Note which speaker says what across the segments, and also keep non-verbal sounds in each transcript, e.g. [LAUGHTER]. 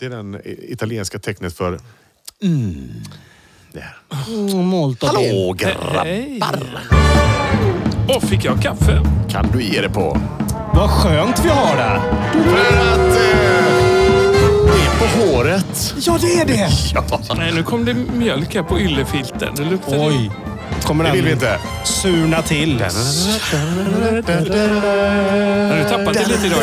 Speaker 1: Det är den i- italienska tecknet för... Mm. Där.
Speaker 2: Molto
Speaker 1: Mm. Hallå
Speaker 3: Hej.
Speaker 1: grabbar!
Speaker 3: Åh, fick jag kaffe?
Speaker 1: Kan du ge det på?
Speaker 2: Vad skönt vi har det!
Speaker 1: För att... Eh, det är på håret.
Speaker 2: Ja, det är det!
Speaker 1: Ja.
Speaker 3: Nej, nu kom det mjölk här på yllefilten. Det luktar...
Speaker 2: Oj. Kommer
Speaker 1: Det
Speaker 2: den
Speaker 1: vill vi inte.
Speaker 2: surna till.
Speaker 3: Har du tappat det lite idag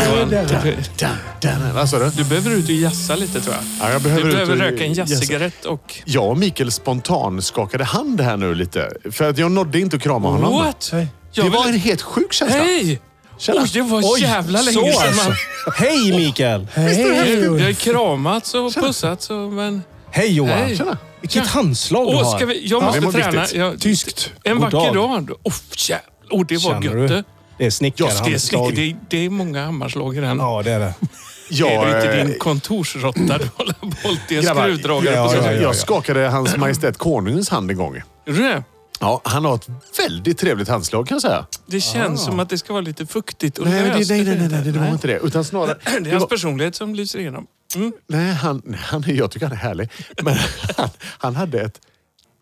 Speaker 3: Johan?
Speaker 1: Vad sa du?
Speaker 3: Du behöver ut och jassa lite tror jag.
Speaker 1: Ja, jag
Speaker 3: Du
Speaker 1: behöver
Speaker 3: behöver
Speaker 1: ut och-
Speaker 3: röka en
Speaker 1: jassa.
Speaker 3: jazzcigarett och...
Speaker 1: Jag och Mikael spontan skakade hand här nu lite. För att jag nådde inte att krama honom.
Speaker 3: What?
Speaker 1: Det
Speaker 3: Jag
Speaker 1: var
Speaker 3: vill-
Speaker 1: en helt sjuk känsla.
Speaker 3: Hej!
Speaker 1: Tjena.
Speaker 3: Oj, det var jävla
Speaker 2: så
Speaker 3: länge sedan man...
Speaker 2: alltså. Hej Mikael!
Speaker 3: Hej! Vi har kramats och pussats och men...
Speaker 2: Hej Johan!
Speaker 3: Hej.
Speaker 1: Tjena.
Speaker 2: Vilket handslag du
Speaker 3: Åh,
Speaker 2: har!
Speaker 3: ska vi... Jag
Speaker 1: Ja,
Speaker 3: måste
Speaker 1: det var
Speaker 3: träna.
Speaker 1: viktigt.
Speaker 3: Jag...
Speaker 2: Tyskt.
Speaker 3: En
Speaker 2: God
Speaker 3: vacker
Speaker 2: dag.
Speaker 3: dag. Åh, jävlar. Åh, det var
Speaker 2: Känner
Speaker 3: gött
Speaker 2: du?
Speaker 3: det.
Speaker 2: Det är
Speaker 3: Jag ska slicka.
Speaker 2: snickarhandslag.
Speaker 3: Det, är- det är många hammarslag i den.
Speaker 2: Ja, det är det.
Speaker 3: är
Speaker 1: Jag,
Speaker 3: du inte
Speaker 1: eh,
Speaker 3: din kontorsrotta du håller bolt i en
Speaker 1: grabbar,
Speaker 3: skruvdragare
Speaker 2: ja,
Speaker 3: på
Speaker 2: ja,
Speaker 3: sig?
Speaker 2: ja.
Speaker 1: Jag skakade hans majestät konungens hand en gång.
Speaker 3: Gjorde du det?
Speaker 1: Ja, han har ett väldigt trevligt handslag kan jag säga.
Speaker 3: Det känns som att det ska vara lite fuktigt och
Speaker 1: Ah. Nej,
Speaker 3: löst.
Speaker 1: det, nej, nej, nej, nej, det var inte det. Utan snarare...
Speaker 3: Det
Speaker 1: det
Speaker 3: är hans
Speaker 1: var,
Speaker 3: personlighet som lyser igenom. Mm.
Speaker 1: nej, han, nej, han, jag tycker han är härlig. Men [LAUGHS] han, han hade ett,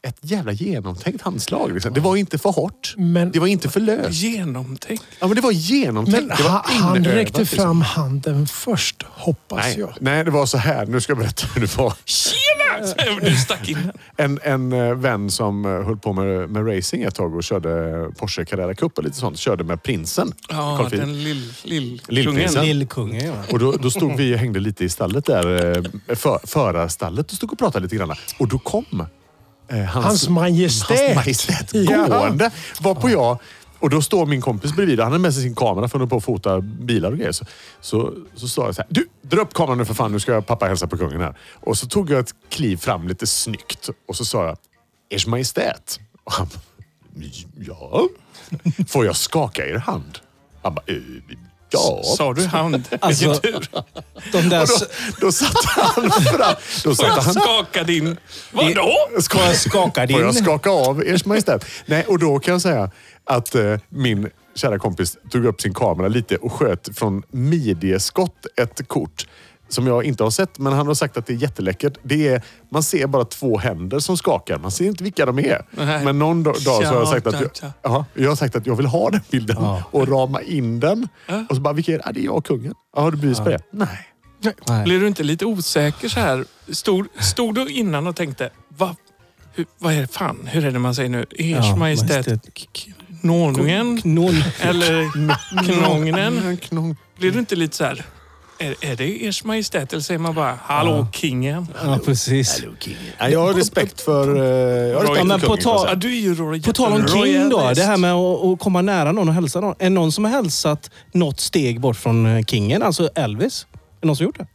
Speaker 1: ett jävla genomtänkt handslag. Liksom. Det var inte för hårt.
Speaker 4: Men-
Speaker 1: det var inte för löst.
Speaker 3: Genomtänkt.
Speaker 1: Ja, men det var genomtänkt.
Speaker 4: Men
Speaker 1: det var
Speaker 4: han, han
Speaker 1: inövat,
Speaker 4: räckte
Speaker 1: liksom.
Speaker 4: fram handen först, hoppas
Speaker 2: Alltså,
Speaker 1: Nej,
Speaker 4: jag.
Speaker 1: nej, det var så här. Nu ska jag berätta hur det var.
Speaker 3: Tjena! säger jag, Du stack in den.
Speaker 1: En, en eh, vän som eh, höll på med, med racing ett tag och körde Porsche Carrera Cup och lite sånt. Körde med prinsen.
Speaker 3: Ja,
Speaker 1: Carl Philip.
Speaker 3: den lill- lill-
Speaker 1: Lillprinsen.
Speaker 3: kungen.
Speaker 2: Lillkungen ja.
Speaker 1: Och då, då stod vi och hängde lite i stallet där, eh, för, förarstallet och stod och pratade lite grann. Och då kom eh, hans,
Speaker 4: Hans majestät.
Speaker 1: hans majestät
Speaker 4: Ja.
Speaker 1: gående. Varpå jag... Och då står min kompis bredvid och han har med sig sin kamera för att hålla på och fota bilar och grejer. Så, så, så sa jag så här. Du, dra upp kameran nu för fan. Nu ska jag pappa hälsa på kungen här. Och så tog jag ett kliv fram lite snyggt och så sa jag. Ers majestät. Och han bara, Ja? Får jag skaka er hand? Han bara, "Eh, ja.
Speaker 3: Sa du
Speaker 1: [LAUGHS]
Speaker 3: hand?
Speaker 2: Alltså,
Speaker 3: Vilken tur.
Speaker 2: De där...
Speaker 1: Och då, då satte han fram... Då
Speaker 3: Får
Speaker 1: satte
Speaker 3: jag
Speaker 1: han...
Speaker 3: skaka din... Vadå?
Speaker 2: Ska jag skaka din?
Speaker 1: Får jag skaka av Ers Majestät? [LAUGHS] Nej, och då kan jag säga att eh, min kära kompis tog upp sin kamera lite och sköt från midjeskott ett kort som jag inte har sett, men han har sagt att det är jätteläckert. Det är, man ser bara två händer som skakar. Man ser inte vilka de är.
Speaker 3: Nej.
Speaker 1: Men någon dag, dag så har jag sagt att
Speaker 3: Tja,
Speaker 1: jag,
Speaker 3: tja.
Speaker 1: ja, jag har sagt att jag vill ha den bilden och rama in den. Och så bara, vilka är det? Ja, det är jag och kungen. Ja, har du bevis på det? Nej.
Speaker 2: Nej.
Speaker 3: Blir du inte lite osäker så här? Stod, stod du innan och tänkte, vad, hur, vad är det fan, hur är det man säger nu? Ers
Speaker 2: Ja,
Speaker 3: majestät,
Speaker 2: majestät.
Speaker 3: k- k- konungen
Speaker 2: Knoll.
Speaker 3: eller knångnen?
Speaker 1: Knång.
Speaker 3: Blir du inte lite så här, är, är det ers majestät? Eller säger man bara, hallå kingen?
Speaker 2: Ja, precis.
Speaker 1: Ja, jag har respekt för... eh, Jag har
Speaker 3: Ja,
Speaker 1: respekt
Speaker 2: men
Speaker 1: för
Speaker 2: på
Speaker 1: kungen,
Speaker 2: tal-
Speaker 1: alltså.
Speaker 3: Ja, du är ju royal,
Speaker 2: På tal om King då,
Speaker 3: royalist.
Speaker 2: det här med att att komma nära någon och hälsa någon. Är någon som har hälsat något steg bort från eh, kingen, alltså Elvis? Är det någon som gjort det?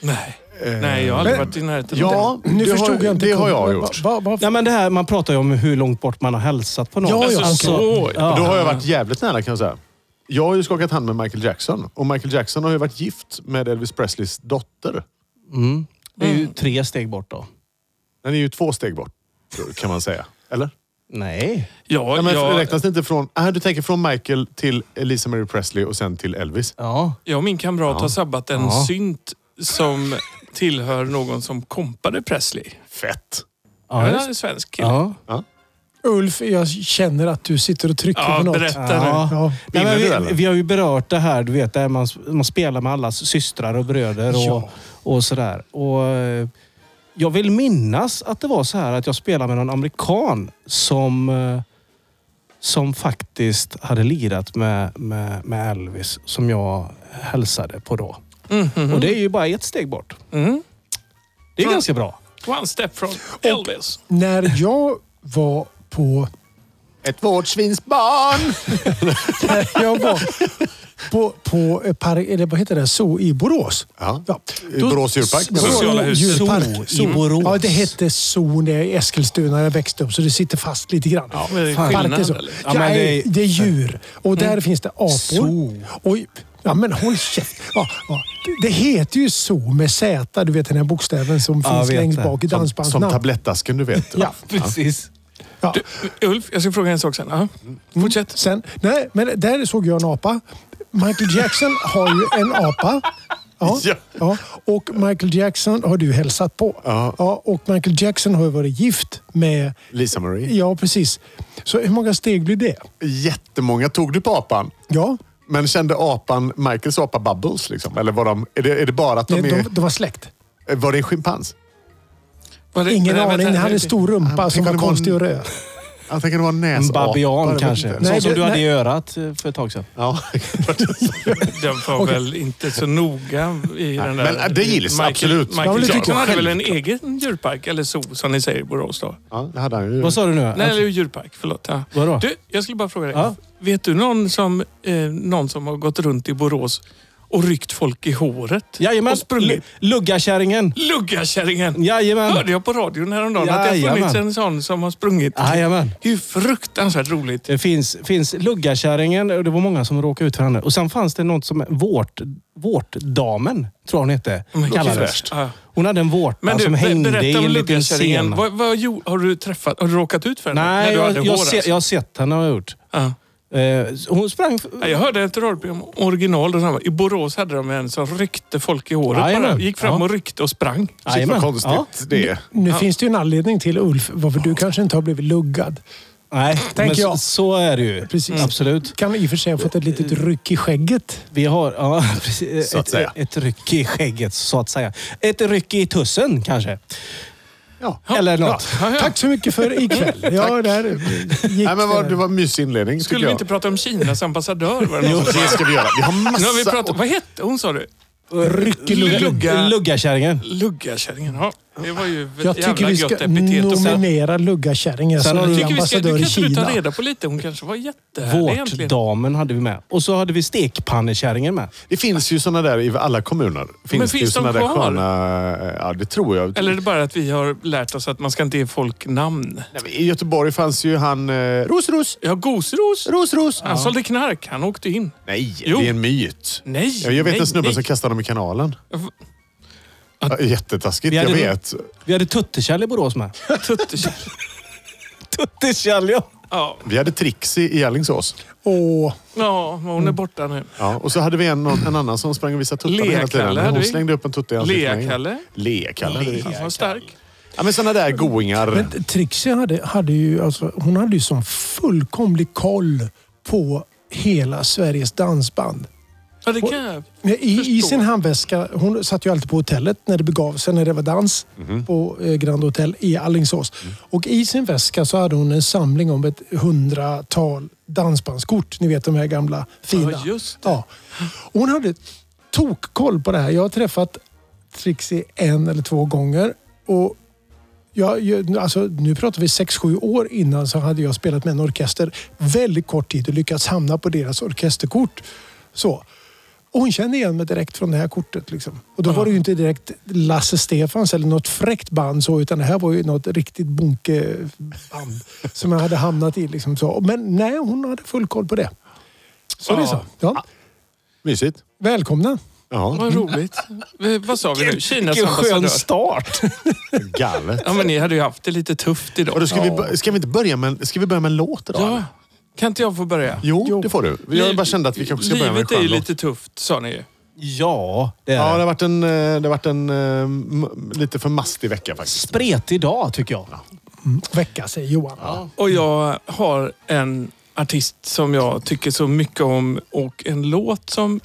Speaker 3: Nej,
Speaker 2: Eh,
Speaker 3: nej jag har aldrig varit i närheten.
Speaker 1: Ja,
Speaker 4: Nu
Speaker 1: det
Speaker 4: förstod
Speaker 1: har,
Speaker 4: jag inte.
Speaker 1: Det har jag
Speaker 4: kunden.
Speaker 1: gjort.
Speaker 4: Va, va, va,
Speaker 2: Nej men det här, man pratar ju om hur långt bort man har hälsat på någon.
Speaker 4: Ja,
Speaker 3: Alltså,
Speaker 4: ja, okej.
Speaker 3: så,
Speaker 2: Ja.
Speaker 1: Då har jag varit jävligt nära kan jag säga. Jag har ju skakat hand med Michael Jackson. Och Michael Jackson har ju varit gift med Elvis Presleys dotter.
Speaker 2: Mm. Det är ju tre steg bort då.
Speaker 1: Den är ju två steg bort, kan man säga. Eller?
Speaker 2: Nej.
Speaker 3: Ja,
Speaker 1: Ja, men
Speaker 3: jag,
Speaker 1: Räknas det inte från... Ah, du tänker från Michael till Elisa Mary Presley och sen till Elvis.
Speaker 2: Ja.
Speaker 3: jag och min kamrat har sabbat en
Speaker 2: Ja.
Speaker 3: synt som tillhör någon som kompade Presley.
Speaker 1: Fett!
Speaker 2: Ja,
Speaker 3: Ja,
Speaker 2: just.
Speaker 3: en svensk kille.
Speaker 2: ja.
Speaker 4: Ulf, jag känner att du sitter och trycker
Speaker 3: Ja,
Speaker 4: på något.
Speaker 3: berätta
Speaker 2: Ja.
Speaker 3: nu.
Speaker 4: Ja.
Speaker 2: Nej, men
Speaker 1: Vinner du, eller?
Speaker 2: vi, vi har ju berört det här, du vet, där man, man spelar med allas systrar och bröder och,
Speaker 4: Ja.
Speaker 2: och sådär. Och, eh, jag vill minnas att det var så här att jag spelade med någon amerikan som, eh, som faktiskt hade lirat med, med, med Elvis, som jag hälsade på då.
Speaker 4: Mhm.
Speaker 2: Och det är ju bara ett steg bort.
Speaker 3: Mm.
Speaker 2: Det är
Speaker 3: Ja.
Speaker 2: ganska bra.
Speaker 3: One step from Elvis.
Speaker 4: När jag var på...
Speaker 1: Ett vårdsvinsbarn!
Speaker 4: När jag var på, på eh, par, eller vad heter det, zoo i Borås.
Speaker 1: Ja.
Speaker 4: Ja.
Speaker 1: I Borås djurpark, menar du?
Speaker 3: Sociala hus.
Speaker 4: Djurpark.
Speaker 2: Zoo i Borås.
Speaker 4: Ja, det hette zoo när jag i Eskilstuna när jag växte upp, så det sitter fast lite grann. Ja,
Speaker 3: Vad är det skillnad, eller?
Speaker 4: Ja,
Speaker 2: Ja, men
Speaker 4: det, är,
Speaker 2: det är-
Speaker 4: det är djur. Och där finns det apor.
Speaker 2: Zoo.
Speaker 4: Och, ja, men håll käft. Ja, ja. Det heter ju zoo med Z, du vet den här bokstäven som
Speaker 2: Ja,
Speaker 4: finns
Speaker 2: jag vet
Speaker 4: längst
Speaker 2: det.
Speaker 4: bak i
Speaker 1: Som, som
Speaker 4: dansbandsnamn.
Speaker 1: tablettasken, du vet.
Speaker 4: Ja.
Speaker 2: Precis.
Speaker 4: Ja.
Speaker 3: Du, Ulf, jag ska fråga en sak sen. Ja.
Speaker 2: Mm.
Speaker 3: Fortsätt.
Speaker 4: Sen, nej, men där såg jag en apa. Michael Jackson har ju en apa Ja,
Speaker 1: Ja.
Speaker 4: ja. Och Michael Jackson har du hälsat på.
Speaker 1: Ja.
Speaker 4: och Michael Jackson har ju varit gift med...
Speaker 1: Lisa Marie.
Speaker 4: Ja, precis. Så hur många steg blir det?
Speaker 1: Jättemånga tog du på apan.
Speaker 4: Ja,
Speaker 1: Men kände apan Michaels apa Bubbles? Liksom? Eller var de, är, det, är det bara att de,
Speaker 4: de, de,
Speaker 1: är...
Speaker 4: de var släkt.
Speaker 1: Var det en schimpans?
Speaker 3: Var det-
Speaker 4: Ingen
Speaker 3: nej, vänta,
Speaker 4: aning. Han hade en stor rumpa
Speaker 1: Han
Speaker 4: som var
Speaker 1: tänkte det var en-
Speaker 4: konstig och röd.
Speaker 1: Jag tänker det var en
Speaker 2: En
Speaker 1: näsapa. jag
Speaker 2: babian
Speaker 1: vet
Speaker 2: kanske.
Speaker 1: inte.
Speaker 2: Sån
Speaker 4: Nej,
Speaker 2: som
Speaker 4: det-
Speaker 2: du hade
Speaker 4: nej.
Speaker 2: i örat eh, för ett tag sedan.
Speaker 3: [LAUGHS]
Speaker 1: Ja.
Speaker 3: Den var väl inte så noga i den där...
Speaker 1: men, äh, det gills,
Speaker 3: Michael,
Speaker 1: absolut. Ja,
Speaker 4: men
Speaker 3: Michael
Speaker 4: det tycker
Speaker 3: Jackson
Speaker 4: jag.
Speaker 3: hade väl en egen djurpark, eller zoo som ni säger i Borås då?
Speaker 1: ja, det hade han ju.
Speaker 2: Vad sa du nu?
Speaker 3: Nej, eller
Speaker 2: Att-
Speaker 3: djurpark. Förlåt. Ja.
Speaker 2: Vadå?
Speaker 3: Du, jag skulle bara fråga dig.
Speaker 2: Ja.
Speaker 3: Vet du någon som, eh, någon som har gått runt i Borås och ryckt folk i håret?
Speaker 2: Jajamän.
Speaker 3: Och sprungit?
Speaker 2: Luggakärringen.
Speaker 3: Luggarkärringen!
Speaker 2: Jajamän.
Speaker 3: Hörde jag på radion häromdagen att det har
Speaker 2: Jajamän.
Speaker 3: funnits en sån som har sprungit.
Speaker 2: Jajamän.
Speaker 3: Det är ju fruktansvärt roligt.
Speaker 2: Det finns, finns Luggakärringen och det var många som råkade ut för henne. Och sen fanns det något som vårt, vårtdamen, tror jag hon hette.
Speaker 3: Men gud,
Speaker 2: kallades.
Speaker 3: fräscht. Ja.
Speaker 2: Hon hade en vårta
Speaker 3: Men du,
Speaker 2: som
Speaker 3: be-
Speaker 2: hängde i
Speaker 3: berätta om
Speaker 2: en liten
Speaker 3: luggarkärringen.
Speaker 2: scen.
Speaker 3: Vad, vad, gjo- har du träffat, har du råkat ut för henne? när
Speaker 2: Nej,
Speaker 3: du
Speaker 2: jag,
Speaker 3: hade
Speaker 2: jag,
Speaker 3: hår,
Speaker 2: se,
Speaker 3: alltså?
Speaker 2: jag har sett henne har jag gjort.
Speaker 3: Ja.
Speaker 2: Eh, hon sprang...
Speaker 3: Ja, Jag hörde ett radioprogram, original, där de var- i Borås hade de en som ryckte folk i håret. Bara,
Speaker 2: Jajamän.
Speaker 3: gick fram
Speaker 2: Ja.
Speaker 3: och ryckte och sprang.
Speaker 1: Shit vad
Speaker 2: Jajamän.
Speaker 1: konstigt
Speaker 2: Ja.
Speaker 1: det är.
Speaker 4: Nu finns det ju en anledning till Ulf varför du kanske inte har blivit luggad.
Speaker 2: Nej, men så,
Speaker 4: jag.
Speaker 2: så är det ju. Mm.
Speaker 4: Precis.
Speaker 2: Absolut.
Speaker 4: Kan i och för sig ha fått ett litet ryck i skägget.
Speaker 2: Vi har ja, [LAUGHS] precis,
Speaker 1: Så att
Speaker 2: ett,
Speaker 1: säga.
Speaker 2: ett ryck i skägget, så att säga. Ett ryck i tussen kanske.
Speaker 1: Ja.
Speaker 2: Eller något.
Speaker 3: Ja, ja.
Speaker 4: Tack så mycket för ikväll. Ja, där gick
Speaker 1: Nej, men
Speaker 4: det
Speaker 1: var,
Speaker 4: där.
Speaker 1: det var en mysig inledning
Speaker 3: Skulle
Speaker 1: tycker
Speaker 3: vi
Speaker 1: jag.
Speaker 3: inte prata om Kinas ambassadör? Var det någon som sa?
Speaker 1: [LAUGHS] Det ska vi göra. Vi har
Speaker 3: nu har vi
Speaker 1: massa...
Speaker 3: pratat, vad hette hon sa du?
Speaker 4: Ryck i luggen.
Speaker 3: Lugga-
Speaker 2: Luggakärringen.
Speaker 3: Luggakärringen. Ja, det var ju ett
Speaker 4: Jag tycker
Speaker 3: jävla
Speaker 4: vi ska
Speaker 3: gött epitet. Och sen,
Speaker 4: nominera Luggakärringen
Speaker 2: Sen
Speaker 4: som
Speaker 2: har du-
Speaker 4: ny
Speaker 3: tycker vi ska, du
Speaker 4: ambassadör
Speaker 3: kan
Speaker 4: i
Speaker 3: inte du
Speaker 4: Kina.
Speaker 3: ta reda på lite? Hon kanske var jättehärlig egentligen.
Speaker 2: Vårtdamen hade vi med. Och så hade vi stekpannekärringen med.
Speaker 1: Det finns ju sådana där i alla kommuner. Finns det ju
Speaker 3: finns de
Speaker 1: såna där
Speaker 3: kvar?
Speaker 1: sköna... Ja, det tror jag.
Speaker 3: Eller är det bara att vi har lärt oss att man ska inte ge folk namn?
Speaker 1: Nej, men I Göteborg fanns ju han... eh, Ros, ros,
Speaker 3: Ja, Gosros.
Speaker 1: ros, ros.
Speaker 3: Han sålde knark. Han åkte in.
Speaker 1: Nej,
Speaker 3: Jo.
Speaker 1: det är en myt.
Speaker 3: Nej,
Speaker 1: Jag, jag vet
Speaker 3: nej,
Speaker 1: en snubbe
Speaker 3: nej.
Speaker 1: som kastade dem i kanalen.
Speaker 3: v-
Speaker 1: Ja, jättetaskigt,
Speaker 2: Vi
Speaker 1: jag
Speaker 2: hade-
Speaker 1: vet.
Speaker 2: Vi hade Tuttekärl i Borås med.
Speaker 3: Tuttekärl.
Speaker 2: Tuttekärl, ja.
Speaker 3: Ja,
Speaker 1: Vi hade Trixie i Alingsås.
Speaker 4: Åh,
Speaker 3: ja, men hon är borta nu.
Speaker 1: Ja, och så hade vi en, någon- en annan som sprang och visade tuttarna hela
Speaker 3: Lea-Kalle
Speaker 1: tiden.
Speaker 3: hade
Speaker 1: Hon
Speaker 3: vi.
Speaker 1: slängde upp en tutte i ansiktet. på mig.
Speaker 3: Lea-Kalle.
Speaker 1: Lea-Kalle. hade vi.
Speaker 3: Han var stark.
Speaker 1: Ja, men såna där goingar.
Speaker 4: men Trixie hade, hade ju, alltså, hon hade ju som fullkomlig koll på hela Sveriges dansband.
Speaker 3: Ja, det kan jag.
Speaker 4: Men I, I
Speaker 3: Förstår.
Speaker 4: sin handväska, hon satt ju alltid på hotellet när det begav sig, när det var dans
Speaker 3: Mhm.
Speaker 4: på eh, Grand Hotel i Alingsås.
Speaker 3: Mm.
Speaker 4: Och i sin väska så hade hon en samling om ett hundratal dansbandskort. Ni vet de här gamla fina.
Speaker 3: Ja, just det.
Speaker 4: Ja. Och hon hade tokkoll på det här. Jag har träffat Trixie en eller två gånger. Och jag, jag, alltså, nu pratar vi sex sju år innan så hade jag spelat med en orkester väldigt kort tid och lyckats hamna på deras orkesterkort. Så. Och hon kände igen mig direkt från det här kortet. Liksom. Och då var det ju inte direkt Lasse Stefans eller något fräckt band så, utan det här var ju något riktigt bunkeband som jag hade hamnat i. Liksom, så. Men nej, hon hade full koll på det. Så det är så. Ja.
Speaker 1: Mysigt.
Speaker 4: Välkomna.
Speaker 1: Ja,
Speaker 3: Vad roligt. Eh, Vad sa vi nu? Kinas
Speaker 2: Vilken skön
Speaker 3: ambassadör.
Speaker 2: [LAUGHS] start.
Speaker 1: galet.
Speaker 3: Ja, men ni hade ju haft det lite tufft
Speaker 1: Och då
Speaker 3: idag.
Speaker 1: ska, vi, bör- ska vi inte börja med, en- ska vi börja med en låt idag?
Speaker 3: Ja.
Speaker 1: eller?
Speaker 3: Kan inte jag få börja?
Speaker 1: Jo, det får du. Jag
Speaker 3: Liv-
Speaker 1: bara kände att vi kanske ska börja med en
Speaker 3: Livet är ju
Speaker 1: skön låt.
Speaker 3: lite tufft, sa ni ju.
Speaker 2: Ja, det
Speaker 1: Ja, det
Speaker 2: är
Speaker 1: har varit en, eh, det har varit en eh, m- lite för mastig vecka faktiskt.
Speaker 2: spretig dag tycker jag.
Speaker 4: Vecka, säger Johan.
Speaker 3: Och jag har en artist som jag tycker så mycket om och en låt som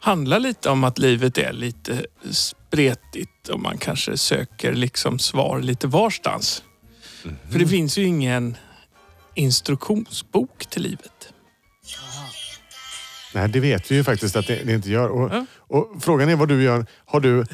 Speaker 3: handlar lite om att livet är lite spretigt och man kanske söker liksom svar lite varstans.
Speaker 1: Mhm.
Speaker 3: För det finns ju ingen instruktionsbok till livet.
Speaker 1: Nej, det vet vi ju faktiskt att det, det inte gör. Och,
Speaker 3: Ja.
Speaker 1: och frågan är vad du gör. Har du...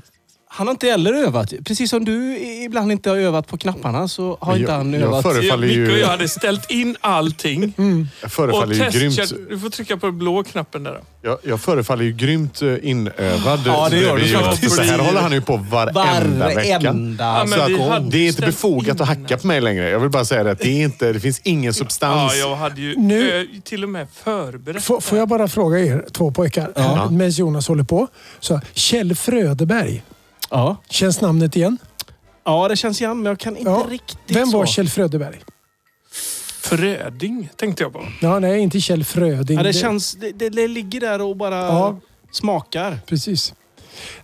Speaker 2: Han har inte heller övat. Precis som du i- ibland inte har övat på knapparna så har inte
Speaker 1: jag,
Speaker 2: han
Speaker 1: jag
Speaker 2: övat.
Speaker 3: Jag,
Speaker 1: förefaller
Speaker 3: Micke och
Speaker 1: ju,
Speaker 3: jag hade ställt in
Speaker 1: [LAUGHS]
Speaker 3: allting.
Speaker 1: jag
Speaker 3: Och
Speaker 1: förefaller ju grymt,
Speaker 3: testköpt. Du får trycka på den blå knappen där. då.
Speaker 1: jag, jag förefaller ju grymt eh, inövad.
Speaker 2: Ja, det gör
Speaker 1: bredvid
Speaker 2: du
Speaker 1: Johan.
Speaker 2: faktiskt.
Speaker 1: Så här håller han ju på varenda vecka.
Speaker 2: Varenda
Speaker 3: Ja, men
Speaker 1: Så
Speaker 3: vi hade
Speaker 1: att, det är inte
Speaker 3: ställt
Speaker 1: befogat
Speaker 3: in
Speaker 1: att hacka på mig längre. Jag vill bara säga det. att Det, är inte, det finns ingen substans.
Speaker 3: Ja, jag hade ju
Speaker 4: Nu-
Speaker 3: ö, till och med förberett.
Speaker 4: Får, får jag bara fråga er två pojkar, medan Jonas håller på. Så, Kjell Fröderberg,
Speaker 2: Ja.
Speaker 4: känns namnet igen?
Speaker 2: ja, det känns igen, men jag kan inte
Speaker 4: Ja.
Speaker 2: riktigt
Speaker 4: Vem
Speaker 2: så.
Speaker 4: var Kjell Fröderberg?
Speaker 3: Fröding tänkte jag på.
Speaker 4: Ja, nej, inte Kjell Fröding.
Speaker 2: Ja, det,
Speaker 4: Det-
Speaker 2: känns, det, det, det ligger där och bara
Speaker 4: Ja.
Speaker 2: smakar.
Speaker 4: Precis.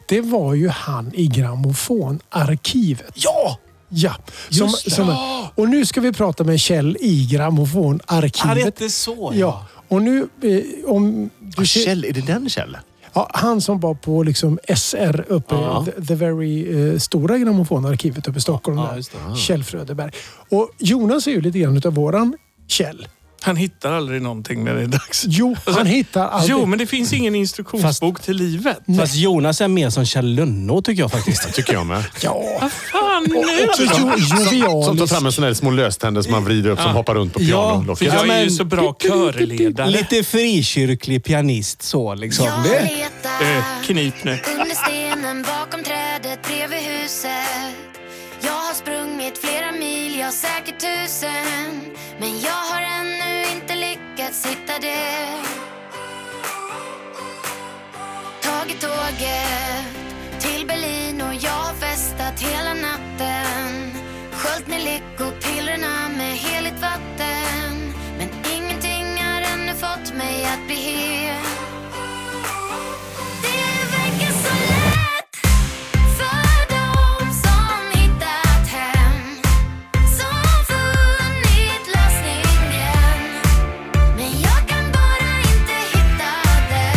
Speaker 4: Det var ju han i grammofonarkivet. Ja! Ja. Som,
Speaker 2: Just det.
Speaker 4: som, och nu ska vi prata med Kjell i
Speaker 2: Han
Speaker 4: grammofonarkivet.
Speaker 2: hette så,
Speaker 4: Ja. Och nu, eh, om
Speaker 1: Ah,
Speaker 4: du ser,
Speaker 1: Kjell, är det den Kjell?
Speaker 4: ja, han som var på liksom SR uppe,
Speaker 1: Ja.
Speaker 4: the, the very eh, stora grammofonarkivet uppe i Stockholm.
Speaker 2: Ja,
Speaker 4: där.
Speaker 2: just det.
Speaker 1: Ah.
Speaker 4: Kjell Fröderberg. Och Jonas är ju lite grann utav våran Kjell.
Speaker 3: Han hittar aldrig någonting när det är dags.
Speaker 4: Jo, han hittar aldrig.
Speaker 3: Jo, men det finns ingen instruktionsbok till livet.
Speaker 2: Fast Jonas är mer som Kjell Lönnå tycker jag faktiskt.
Speaker 1: tycker jag med.
Speaker 4: Ja,
Speaker 3: Fan nu!
Speaker 4: också jo,
Speaker 1: Som tar
Speaker 4: jovialis.
Speaker 1: fram en sån där små löständer som man vrider upp som hoppar runt på
Speaker 2: Ja,
Speaker 3: För
Speaker 1: pianolocket.
Speaker 2: Ja,
Speaker 3: jag är ju
Speaker 2: men-
Speaker 3: så bra körledare.
Speaker 2: Lite frikyrklig pianist så liksom.
Speaker 5: Jag
Speaker 2: Det.
Speaker 5: letar
Speaker 3: Eh, knip nu.
Speaker 5: under stenen bakom trädet bredvid huset. Jag har sprungit flera mil, jag säkert tusen. Men jag har ännu inte lyckats hitta det. Tagit tåget till Berlin och jag har festat hela natten. Sköljt ner lyckopillerna med heligt vatten. Men ingenting har ännu fått mig att bli hel. Det verkar så lätt för dem som hittat hem, som funnit lösningen. Men jag kan bara inte hitta den.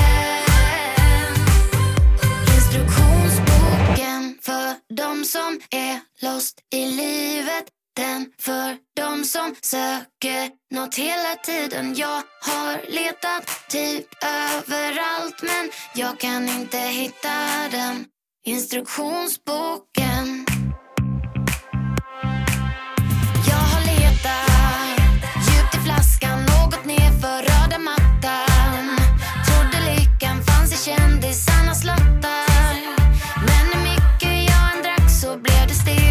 Speaker 5: Instruktionsboken för dem som är lost i livet. Den för dem som söker något hela tiden. Jag har letat typ överallt men jag kan inte hitta den. Instruktionsboken. Jag har letat djupt i flaskan, något nerför röda mattan. Trodde lyckan fanns i kändisarnas lottar. Men hur mycket jag än drack så blev det stelt.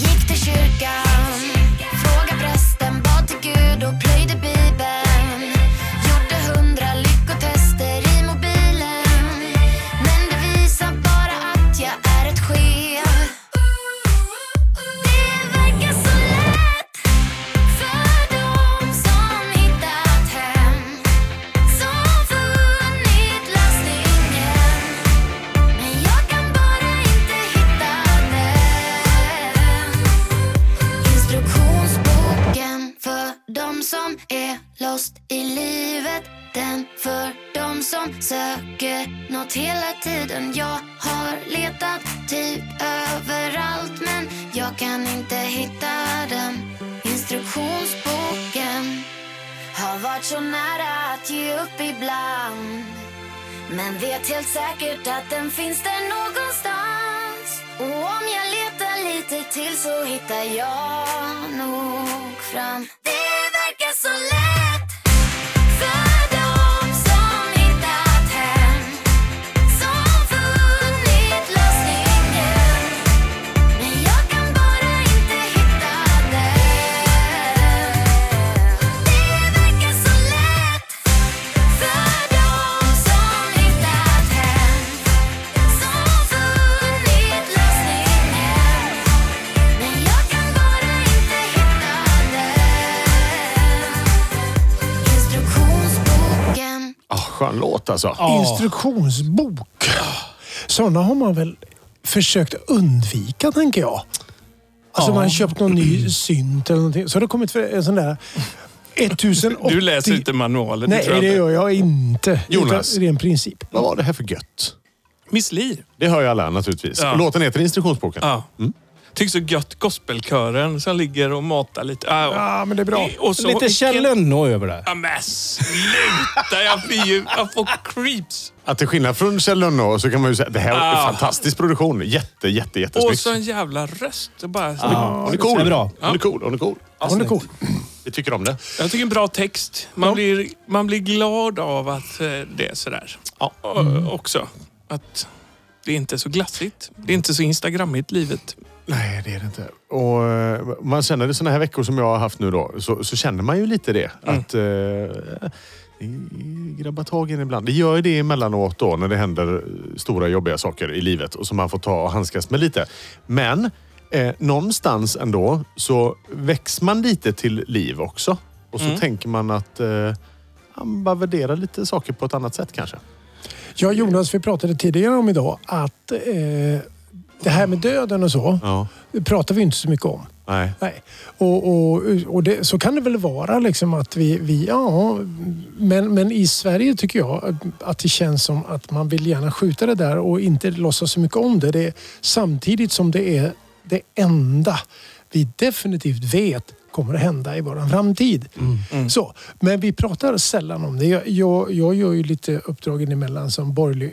Speaker 5: Gick till kyrkan, frågade prästen, bad till Gud och plöjde bibeln. Gjorde hundra lyckotester i mobilen. Men det visar bara att jag är ett skev. Det verkar så lätt för dem som hittat hem. Som funnit lösningen. Men jag kan bara inte hitta den. Instruktionsboken för dem som är lost i livet. Den för dem som söker något hela tiden. Jag har letat typ överallt men jag kan inte hitta den. Instruktionsboken har varit så nära att ge upp ibland. Men vet helt säkert att den finns där någonstans. Och om jag letar lite till så hittar jag nog fram. Det verkar så lätt för dem som hittat hem. Som funnit lösningen. Men jag kan bara inte hitta den. Det verkar så lätt. För dem som hittat hem, som funnit lösningen. Men jag kan bara inte hitta den. Instruktionsboken.
Speaker 1: Ah, skön låt alltså.
Speaker 4: Instruktionsbok. Sådana har man väl försökt undvika, tänker jag. Alltså man har köpt någon ny synt eller någonting. Så har det kommit för en sån där 1080...
Speaker 3: [LAUGHS] Du läser inte manualen.
Speaker 4: Nej,
Speaker 3: tror jag
Speaker 4: det
Speaker 3: inte.
Speaker 4: gör jag inte.
Speaker 1: Jonas.
Speaker 4: Utan ren princip.
Speaker 1: Vad var det här för gött?
Speaker 3: Miss Li.
Speaker 1: Det hör ju alla naturligtvis.
Speaker 3: Ja.
Speaker 1: Låten heter Instruktionsboken.
Speaker 3: Ja. Tycker så gött gospelkören som ligger och matar lite. Ah, ja.
Speaker 4: Ja, men det är bra.
Speaker 3: Och så,
Speaker 2: Lite Kjell Lönnå över det.
Speaker 3: Ja, men sluta! Jag får, ju, jag får creeps.
Speaker 1: Att till skillnad från Kjell Lönnå så kan man ju säga att det här är en
Speaker 3: Ah.
Speaker 1: fantastisk produktion. Jätte, jätte,
Speaker 3: Och
Speaker 1: jättesnyggt.
Speaker 3: så en jävla röst. Det bara,
Speaker 1: Hon är cool.
Speaker 2: det är bra.
Speaker 1: Hon är cool. Hon är cool.
Speaker 4: Hon är cool.
Speaker 1: Vi tycker om det.
Speaker 3: Jag tycker en bra text. Man, blir, man blir glad av att eh, det är sådär.
Speaker 1: Ja.
Speaker 3: Och, eh, Också. Att det inte är så glassigt. Det är inte så instagrammigt livet.
Speaker 1: Nej, det är det inte. Och eh, man känner det såna här veckor som jag har haft nu då, så, så känner man ju lite det. Att eh, grabba tag i den ibland. Det gör ju det emellanåt då när det händer stora jobbiga saker i livet och som man får ta och handskas med lite. Men eh, någonstans ändå så väcks man lite till liv också. Och så tänker man att eh, man bara värderar lite saker på ett annat sätt kanske.
Speaker 4: Jag och Jonas, vi pratade tidigare om idag att eh, det här med döden och så,
Speaker 1: Ja.
Speaker 4: det pratar vi inte så mycket om.
Speaker 1: Nej.
Speaker 4: Nej. Och, och, och det, så kan det väl vara liksom att vi, vi ja, men, men i Sverige tycker jag att det känns som att man vill gärna skjuta det där och inte låtsas så mycket om det. det är, samtidigt som det är det enda vi definitivt vet kommer att hända i vår framtid.
Speaker 3: Mm.
Speaker 4: Så, men vi pratar sällan om det. Jag, jag, jag gör ju lite uppdragen emellan som borgerlig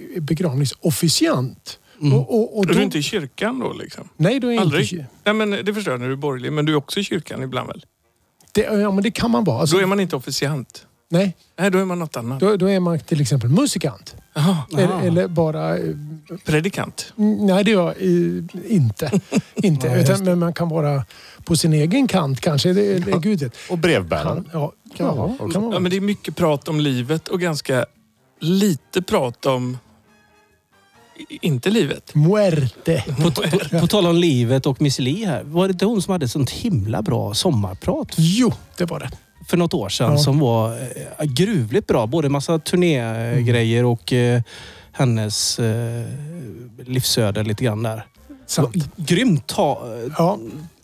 Speaker 4: begravningsofficiant.
Speaker 2: Mm.
Speaker 4: Och, och, och
Speaker 3: Är
Speaker 4: då-
Speaker 3: Mm. du inte i kyrkan då liksom?
Speaker 4: nej, då är jag
Speaker 3: Aldrig?
Speaker 4: inte...
Speaker 3: Nej, men det förstår jag när du är borgerlig, men du är också i kyrkan ibland väl?
Speaker 4: Alltså- Det, ja, men det kan man vara. Alltså,
Speaker 3: Då är man inte officiant.
Speaker 4: nej.
Speaker 3: Nej, då är man något annat.
Speaker 4: Då, då är man till exempel musikant.
Speaker 3: Jaha,
Speaker 4: Eller, eller bara... eh,
Speaker 3: predikant.
Speaker 4: Nej, det är jag eh, inte. inte. utan, men man kan vara på sin egen kant kanske. Det, det är Gud vet.
Speaker 1: Och brevbäraren.
Speaker 4: Kan, ja, kan man vara. Kan man
Speaker 3: Ja,
Speaker 4: vara.
Speaker 3: men det är mycket prat om livet och ganska lite prat om... i- Inte livet.
Speaker 4: Muerte.
Speaker 2: På, på, på tal om livet och Miss Li här. Var det inte hon som hade ett sånt himla bra sommarprat
Speaker 4: Jo, det var det.
Speaker 2: för något år sedan
Speaker 4: Ja.
Speaker 2: som var eh, gruvligt bra? Både massa turnégrejer och eh, hennes eh, livsöde lite grann där.
Speaker 4: Sant.
Speaker 2: Grymt ta... eh,
Speaker 4: Ja,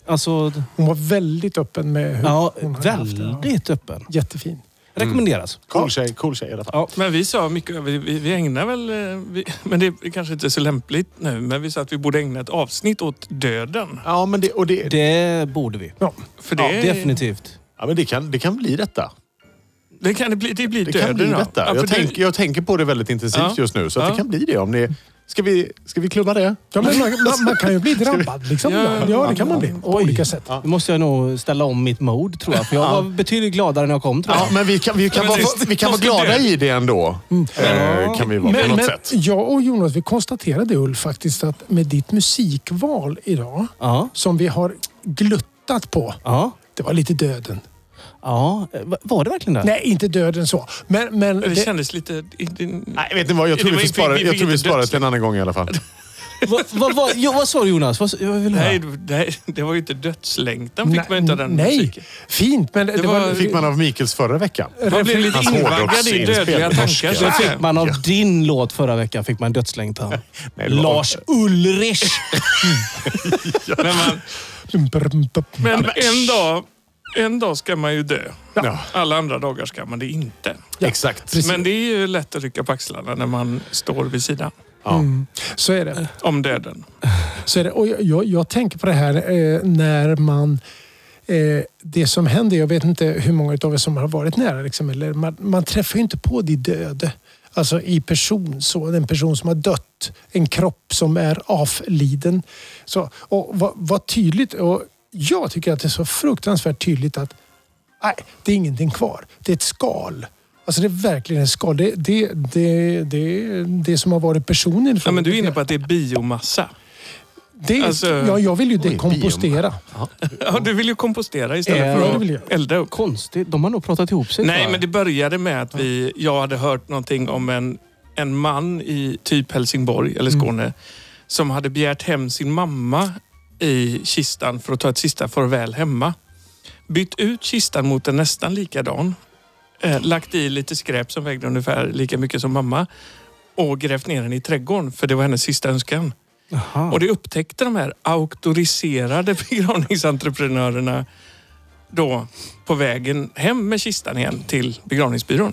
Speaker 2: Alltså,
Speaker 4: hon var väldigt öppen med hur
Speaker 2: ja, Mm.
Speaker 4: hon hade haft det. Ja.
Speaker 2: väldigt öppen.
Speaker 4: Jättefin.
Speaker 2: Rekommenderas.
Speaker 1: Cool tjej, cool tjej i alla fall.
Speaker 3: Men vi sa mycket, vi, vi, vi ägnar väl, eh, vi, [LAUGHS] men det är kanske inte så lämpligt nu, men vi sa att vi borde ägna ett avsnitt åt döden.
Speaker 1: Ja, men det, och det,
Speaker 2: Det borde vi.
Speaker 4: Ja.
Speaker 3: För det,
Speaker 2: Ja, definitivt.
Speaker 1: ja, men det, kan, det kan bli detta.
Speaker 3: Det, kan, det, blir, det blir
Speaker 1: Det
Speaker 3: döden
Speaker 1: kan bli
Speaker 3: då.
Speaker 1: detta.
Speaker 3: Ja, för
Speaker 1: jag,
Speaker 3: det-
Speaker 1: tänk, jag tänker på det väldigt intensivt
Speaker 3: Ja.
Speaker 1: just nu, så att
Speaker 3: Ja.
Speaker 1: det kan bli det. Om ni, ska, vi, ska vi klubba det?
Speaker 4: Ja, men man, man, man kan ju bli drabbad. Liksom.
Speaker 3: Ja, ja,
Speaker 4: Ja, det kan man bli. På
Speaker 2: Oj.
Speaker 4: olika sätt.
Speaker 2: Nu måste jag nog ställa om mitt mode tror jag. För jag var betydligt gladare när jag kom tror jag.
Speaker 1: Ja, men vi kan, vi kan,
Speaker 3: Men
Speaker 1: vara,
Speaker 3: visst,
Speaker 1: vi kan vara
Speaker 3: måste Mm.
Speaker 1: glada
Speaker 3: dö.
Speaker 1: i det ändå. Eh, kan vi vara på
Speaker 4: Men,
Speaker 1: något
Speaker 4: men
Speaker 1: sätt.
Speaker 4: jag och Jonas, vi konstaterade Ulf faktiskt att med ditt musikval idag
Speaker 2: Ja.
Speaker 4: som vi har gluttat på.
Speaker 2: Ja.
Speaker 4: Det var lite döden.
Speaker 2: ja. Eh, va- Var det verkligen det?
Speaker 4: Nej, inte döden så. Men, men
Speaker 3: Det
Speaker 4: det-
Speaker 3: kändes lite... i- din-
Speaker 1: Nej, vet ni vad? Jag tror
Speaker 3: Det
Speaker 1: vi,
Speaker 3: var
Speaker 1: får
Speaker 3: ju-
Speaker 1: spara,
Speaker 3: vi- vi-
Speaker 1: jag tror
Speaker 3: vi-
Speaker 1: vi sparar
Speaker 3: vi-
Speaker 1: till en annan gång i alla fall.
Speaker 3: [LAUGHS]
Speaker 2: Va, va, va, jo, vad sa du Jonas? Vad, s- jag vill höra.
Speaker 3: Nej, nej, [LAUGHS] det var ju inte dödslängtan fick man ju inte av den
Speaker 4: Nej,
Speaker 3: musiken.
Speaker 4: fint. Men det,
Speaker 3: Det
Speaker 4: var,
Speaker 3: var-
Speaker 1: Det fick man av Mikels förra veckan.
Speaker 3: Man blev lite
Speaker 1: Hans
Speaker 3: invaggad i
Speaker 1: hårdrocksinspel
Speaker 3: dödliga
Speaker 1: med norska.
Speaker 3: tankar. Så
Speaker 1: Det
Speaker 3: fick
Speaker 2: Man av din låt förra veckan fick man dödslängtan.
Speaker 1: Nej, det var-
Speaker 2: Lars Ulrich!
Speaker 3: Men, man, men en, dag, en dag ska man ju dö.
Speaker 1: Ja,
Speaker 3: Alla andra dagar ska man det inte.
Speaker 1: exakt.
Speaker 4: Precis.
Speaker 3: Men det är ju lätt att rycka på axlarna när man står vid sidan Mm.
Speaker 4: Så är det.
Speaker 3: om döden.
Speaker 4: Så är det. Och jag, jag, jag tänker på det här eh, när man... Eh, det som händer, jag vet inte hur många av er som har varit nära, liksom, eller man, man träffar ju inte på de döde. Alltså i person, så, en person som har dött, en kropp som är avliden. Så, och vad, vad tydligt, och jag tycker att det är så fruktansvärt tydligt att nej, det är ingenting kvar. Det är ett skal. Alltså det är verkligen ett skal. Det, det, det, det, det som har varit personen.
Speaker 3: Ja,
Speaker 4: från-
Speaker 3: men du är inne på att det är biomassa.
Speaker 4: det,
Speaker 3: Alltså-
Speaker 4: ja, jag vill ju
Speaker 1: Oj,
Speaker 4: dekompostera.
Speaker 3: Ja, du vill ju kompostera istället
Speaker 2: Ja,
Speaker 3: för
Speaker 2: det
Speaker 3: att
Speaker 4: vill jag.
Speaker 3: elda upp.
Speaker 2: Konstigt. De har nog pratat ihop sig. tror
Speaker 3: Nej,
Speaker 2: jag.
Speaker 3: men det började med att vi, jag hade hört någonting om en, en man i typ Helsingborg eller Skåne som hade begärt hem sin mamma i kistan för att ta ett sista farväl hemma. Bytt ut kistan mot en nästan likadan. Eh, lagt i lite skräp som vägde ungefär lika mycket som mamma och grävt ner den i trädgården för det var hennes sista önskan.
Speaker 2: Jaha.
Speaker 3: Och det upptäckte de här auktoriserade [LAUGHS] begravningsentreprenörerna då på vägen hem med kistan igen till begravningsbyrån.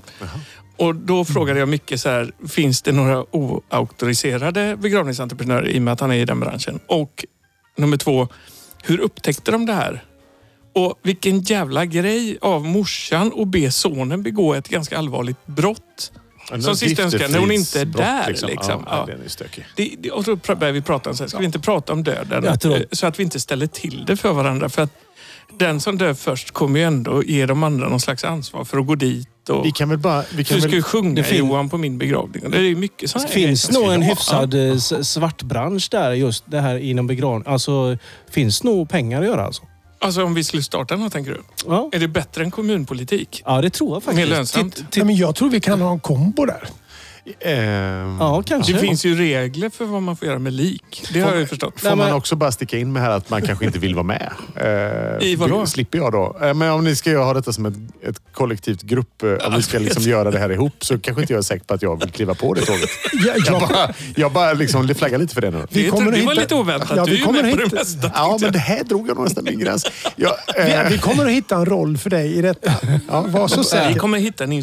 Speaker 3: Och då frågade jag mycket så här, finns det några oauktoriserade begravningsentreprenörer i och med att han är i den branschen? Och nummer två, hur upptäckte de det här? Och vilken jävla grej av morsan att be sonen begå ett ganska allvarligt brott. Som sista önskan, när hon inte är där. Liksom.
Speaker 1: Ja,
Speaker 3: Ja.
Speaker 1: den är stökig.
Speaker 3: Det, det, och då pr- börjar vi prata om så här, ska vi inte prata om döden?
Speaker 2: Jag tror-
Speaker 3: Eh, Så att vi inte ställer till det för varandra. För att den som dör först kommer ju ändå ge de andra någon slags ansvar för att gå dit. Och,
Speaker 1: Vi kan väl bara... Vi kan
Speaker 3: du ska ju
Speaker 1: väl,
Speaker 3: sjunga
Speaker 2: det fin-
Speaker 3: Johan på min begravning. Och Det är ju mycket sådana
Speaker 2: Det finns nog en hyfsad
Speaker 3: Ja.
Speaker 2: eh, s- svart bransch där just det här inom begravning. Alltså, finns nog pengar att göra alltså.
Speaker 3: Alltså om vi skulle starta något tänker du?
Speaker 2: Ja,
Speaker 3: Är det bättre än kommunpolitik?
Speaker 2: ja det tror jag faktiskt.
Speaker 3: Mer lönsamt.
Speaker 2: Titt-
Speaker 4: Nej, men jag tror vi kan ha en kombo där.
Speaker 1: Ehm,
Speaker 2: Ja, kanske.
Speaker 3: Det finns ju regler för vad man får göra med lik. Det har jag ju förstått.
Speaker 1: Får
Speaker 2: Nej, men-
Speaker 1: man också bara sticka in med här att man kanske inte vill vara med? Eh,
Speaker 3: I vadå?
Speaker 1: det Slipper jag då? Eh, men om ni ska ha detta som ett, ett kollektivt grupp, eh, om vi ska liksom göra det här ihop, så kanske inte jag är säker på att jag vill kliva på det tåget.
Speaker 4: Jag,
Speaker 1: Jag
Speaker 4: jag,
Speaker 1: bara, jag bara liksom flaggar lite för det nu.
Speaker 4: vi
Speaker 3: det,
Speaker 4: kommer
Speaker 3: det
Speaker 4: att
Speaker 3: var
Speaker 4: hitta-
Speaker 3: lite oväntat.
Speaker 4: Ja,
Speaker 3: du
Speaker 4: vi
Speaker 3: är ju
Speaker 4: kommer
Speaker 3: med på
Speaker 4: att
Speaker 3: det
Speaker 4: hitta-
Speaker 3: mesta.
Speaker 1: Ja, men det här drog jag nog nästan min gräns. Jag, eh,
Speaker 4: vi, vi kommer att hitta en roll för dig i detta. var så
Speaker 3: Vi
Speaker 4: säker.
Speaker 3: kommer hitta en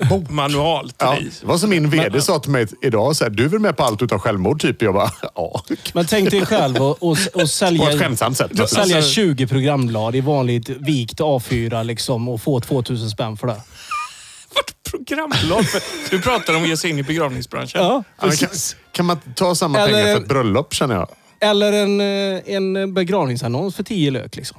Speaker 3: instruktionsmanual till
Speaker 1: ja,
Speaker 3: dig.
Speaker 1: det var som min vd sa till mig idag, så här, du är väl med på allt utan självmord? Typ. Jag bara, [LAUGHS] ja.
Speaker 2: Men tänk dig själv och, och, och
Speaker 1: På ett
Speaker 2: sälja,
Speaker 1: skämtsamt sätt.
Speaker 2: sälja
Speaker 3: Alltså-
Speaker 2: 20 programblad i vanligt vikt A4 liksom och få 2000 spänn för det.
Speaker 3: Vart programlag för? Du pratar om att ge sig in i begravningsbranschen.
Speaker 2: Ja.
Speaker 1: Ja, men kan, kan man ta samma
Speaker 2: Eller-
Speaker 1: pengar för ett bröllop känner jag?
Speaker 2: Eller en, eh, en begravningsannons för 10 lök liksom.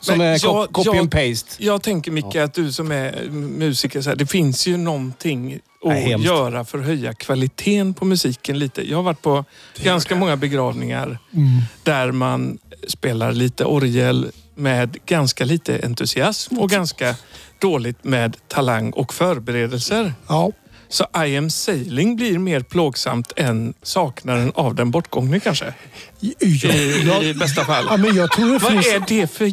Speaker 2: Som
Speaker 3: Men
Speaker 2: är co-
Speaker 3: jag-
Speaker 2: copy
Speaker 3: jag-
Speaker 2: and paste.
Speaker 3: Jag tänker Micke att du som är musiker, så här, det finns ju någonting att
Speaker 2: Nej, hemskt.
Speaker 3: göra för att höja kvaliteten på musiken lite. Jag har varit på ganska många begravningar
Speaker 2: Mm.
Speaker 3: där man spelar lite orgel med ganska lite entusiasm och ganska dåligt med talang och förberedelser.
Speaker 4: Ja.
Speaker 3: Så I am sailing blir mer plågsamt än saknaden av den bortgångne kanske.
Speaker 4: I- i-
Speaker 3: I, i
Speaker 4: jag-
Speaker 3: bästa
Speaker 4: Ja,
Speaker 3: fall.
Speaker 4: men jag tror det
Speaker 3: Vad
Speaker 4: finns,
Speaker 3: är det för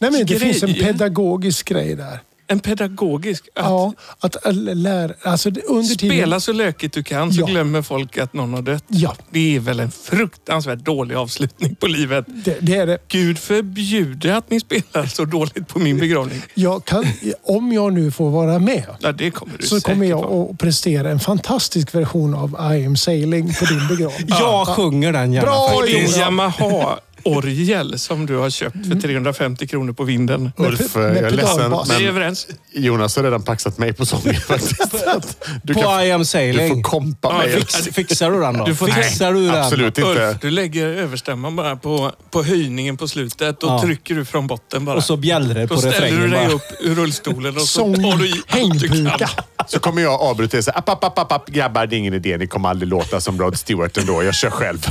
Speaker 4: nej, men det finns en
Speaker 3: grej?
Speaker 4: pedagogisk grej där.
Speaker 3: en pedagogisk... Att
Speaker 4: Ja, att äh, lära... Alltså, det- under tiden,
Speaker 3: Spela så lökigt du kan så
Speaker 4: Ja.
Speaker 3: glömmer folk att någon har dött.
Speaker 4: Ja,
Speaker 3: Det är väl en fruktansvärt dålig avslutning på livet.
Speaker 4: det, det är det.
Speaker 3: Gud förbjude att ni spelar så dåligt på min begravning.
Speaker 4: Jag kan, om jag nu får vara med
Speaker 3: Ja, det kommer du
Speaker 4: så
Speaker 3: säkert
Speaker 4: kommer jag
Speaker 3: vara.
Speaker 4: att prestera en fantastisk version av I am sailing på din begravning.
Speaker 2: Jag sjunger den gärna.
Speaker 4: Bra,
Speaker 2: faktiskt.
Speaker 3: Det är en
Speaker 4: Jonas.
Speaker 3: Yamaha-orgel som du har köpt
Speaker 4: Mm.
Speaker 3: för 350 kronor på vinden.
Speaker 4: Med
Speaker 1: Ulf,
Speaker 4: pe-
Speaker 1: jag
Speaker 4: med
Speaker 1: är ledsen,
Speaker 4: pedalbas.
Speaker 3: Vi är
Speaker 1: men
Speaker 3: överens.
Speaker 1: Jonas har redan paxat mig på sången faktiskt. Att Du,
Speaker 2: På
Speaker 1: kan,
Speaker 2: I am
Speaker 1: du får
Speaker 2: sailing.
Speaker 1: kompa
Speaker 3: Ja,
Speaker 1: mig.
Speaker 3: fix-
Speaker 2: Fix, fixar du den då?
Speaker 3: Alltså, Du får-
Speaker 2: fixar du den?
Speaker 1: Absolut
Speaker 3: Ulf,
Speaker 1: inte.
Speaker 3: du lägger överstämman bara på, på höjningen på slutet och
Speaker 2: Ja.
Speaker 3: trycker du från botten bara.
Speaker 2: Och så bjällrar det på
Speaker 3: Då ställer du
Speaker 2: refrängen
Speaker 3: dig
Speaker 2: bara.
Speaker 3: upp ur rullstolen och så
Speaker 4: Sång,
Speaker 3: tar du i allt du kan.
Speaker 4: hängpuka.
Speaker 1: Så kommer jag avbryta och säga app, app, app, app, app, grabbar, det är ingen idé. Ni kommer aldrig låta som Rod Stewart ändå. Jag kör själv.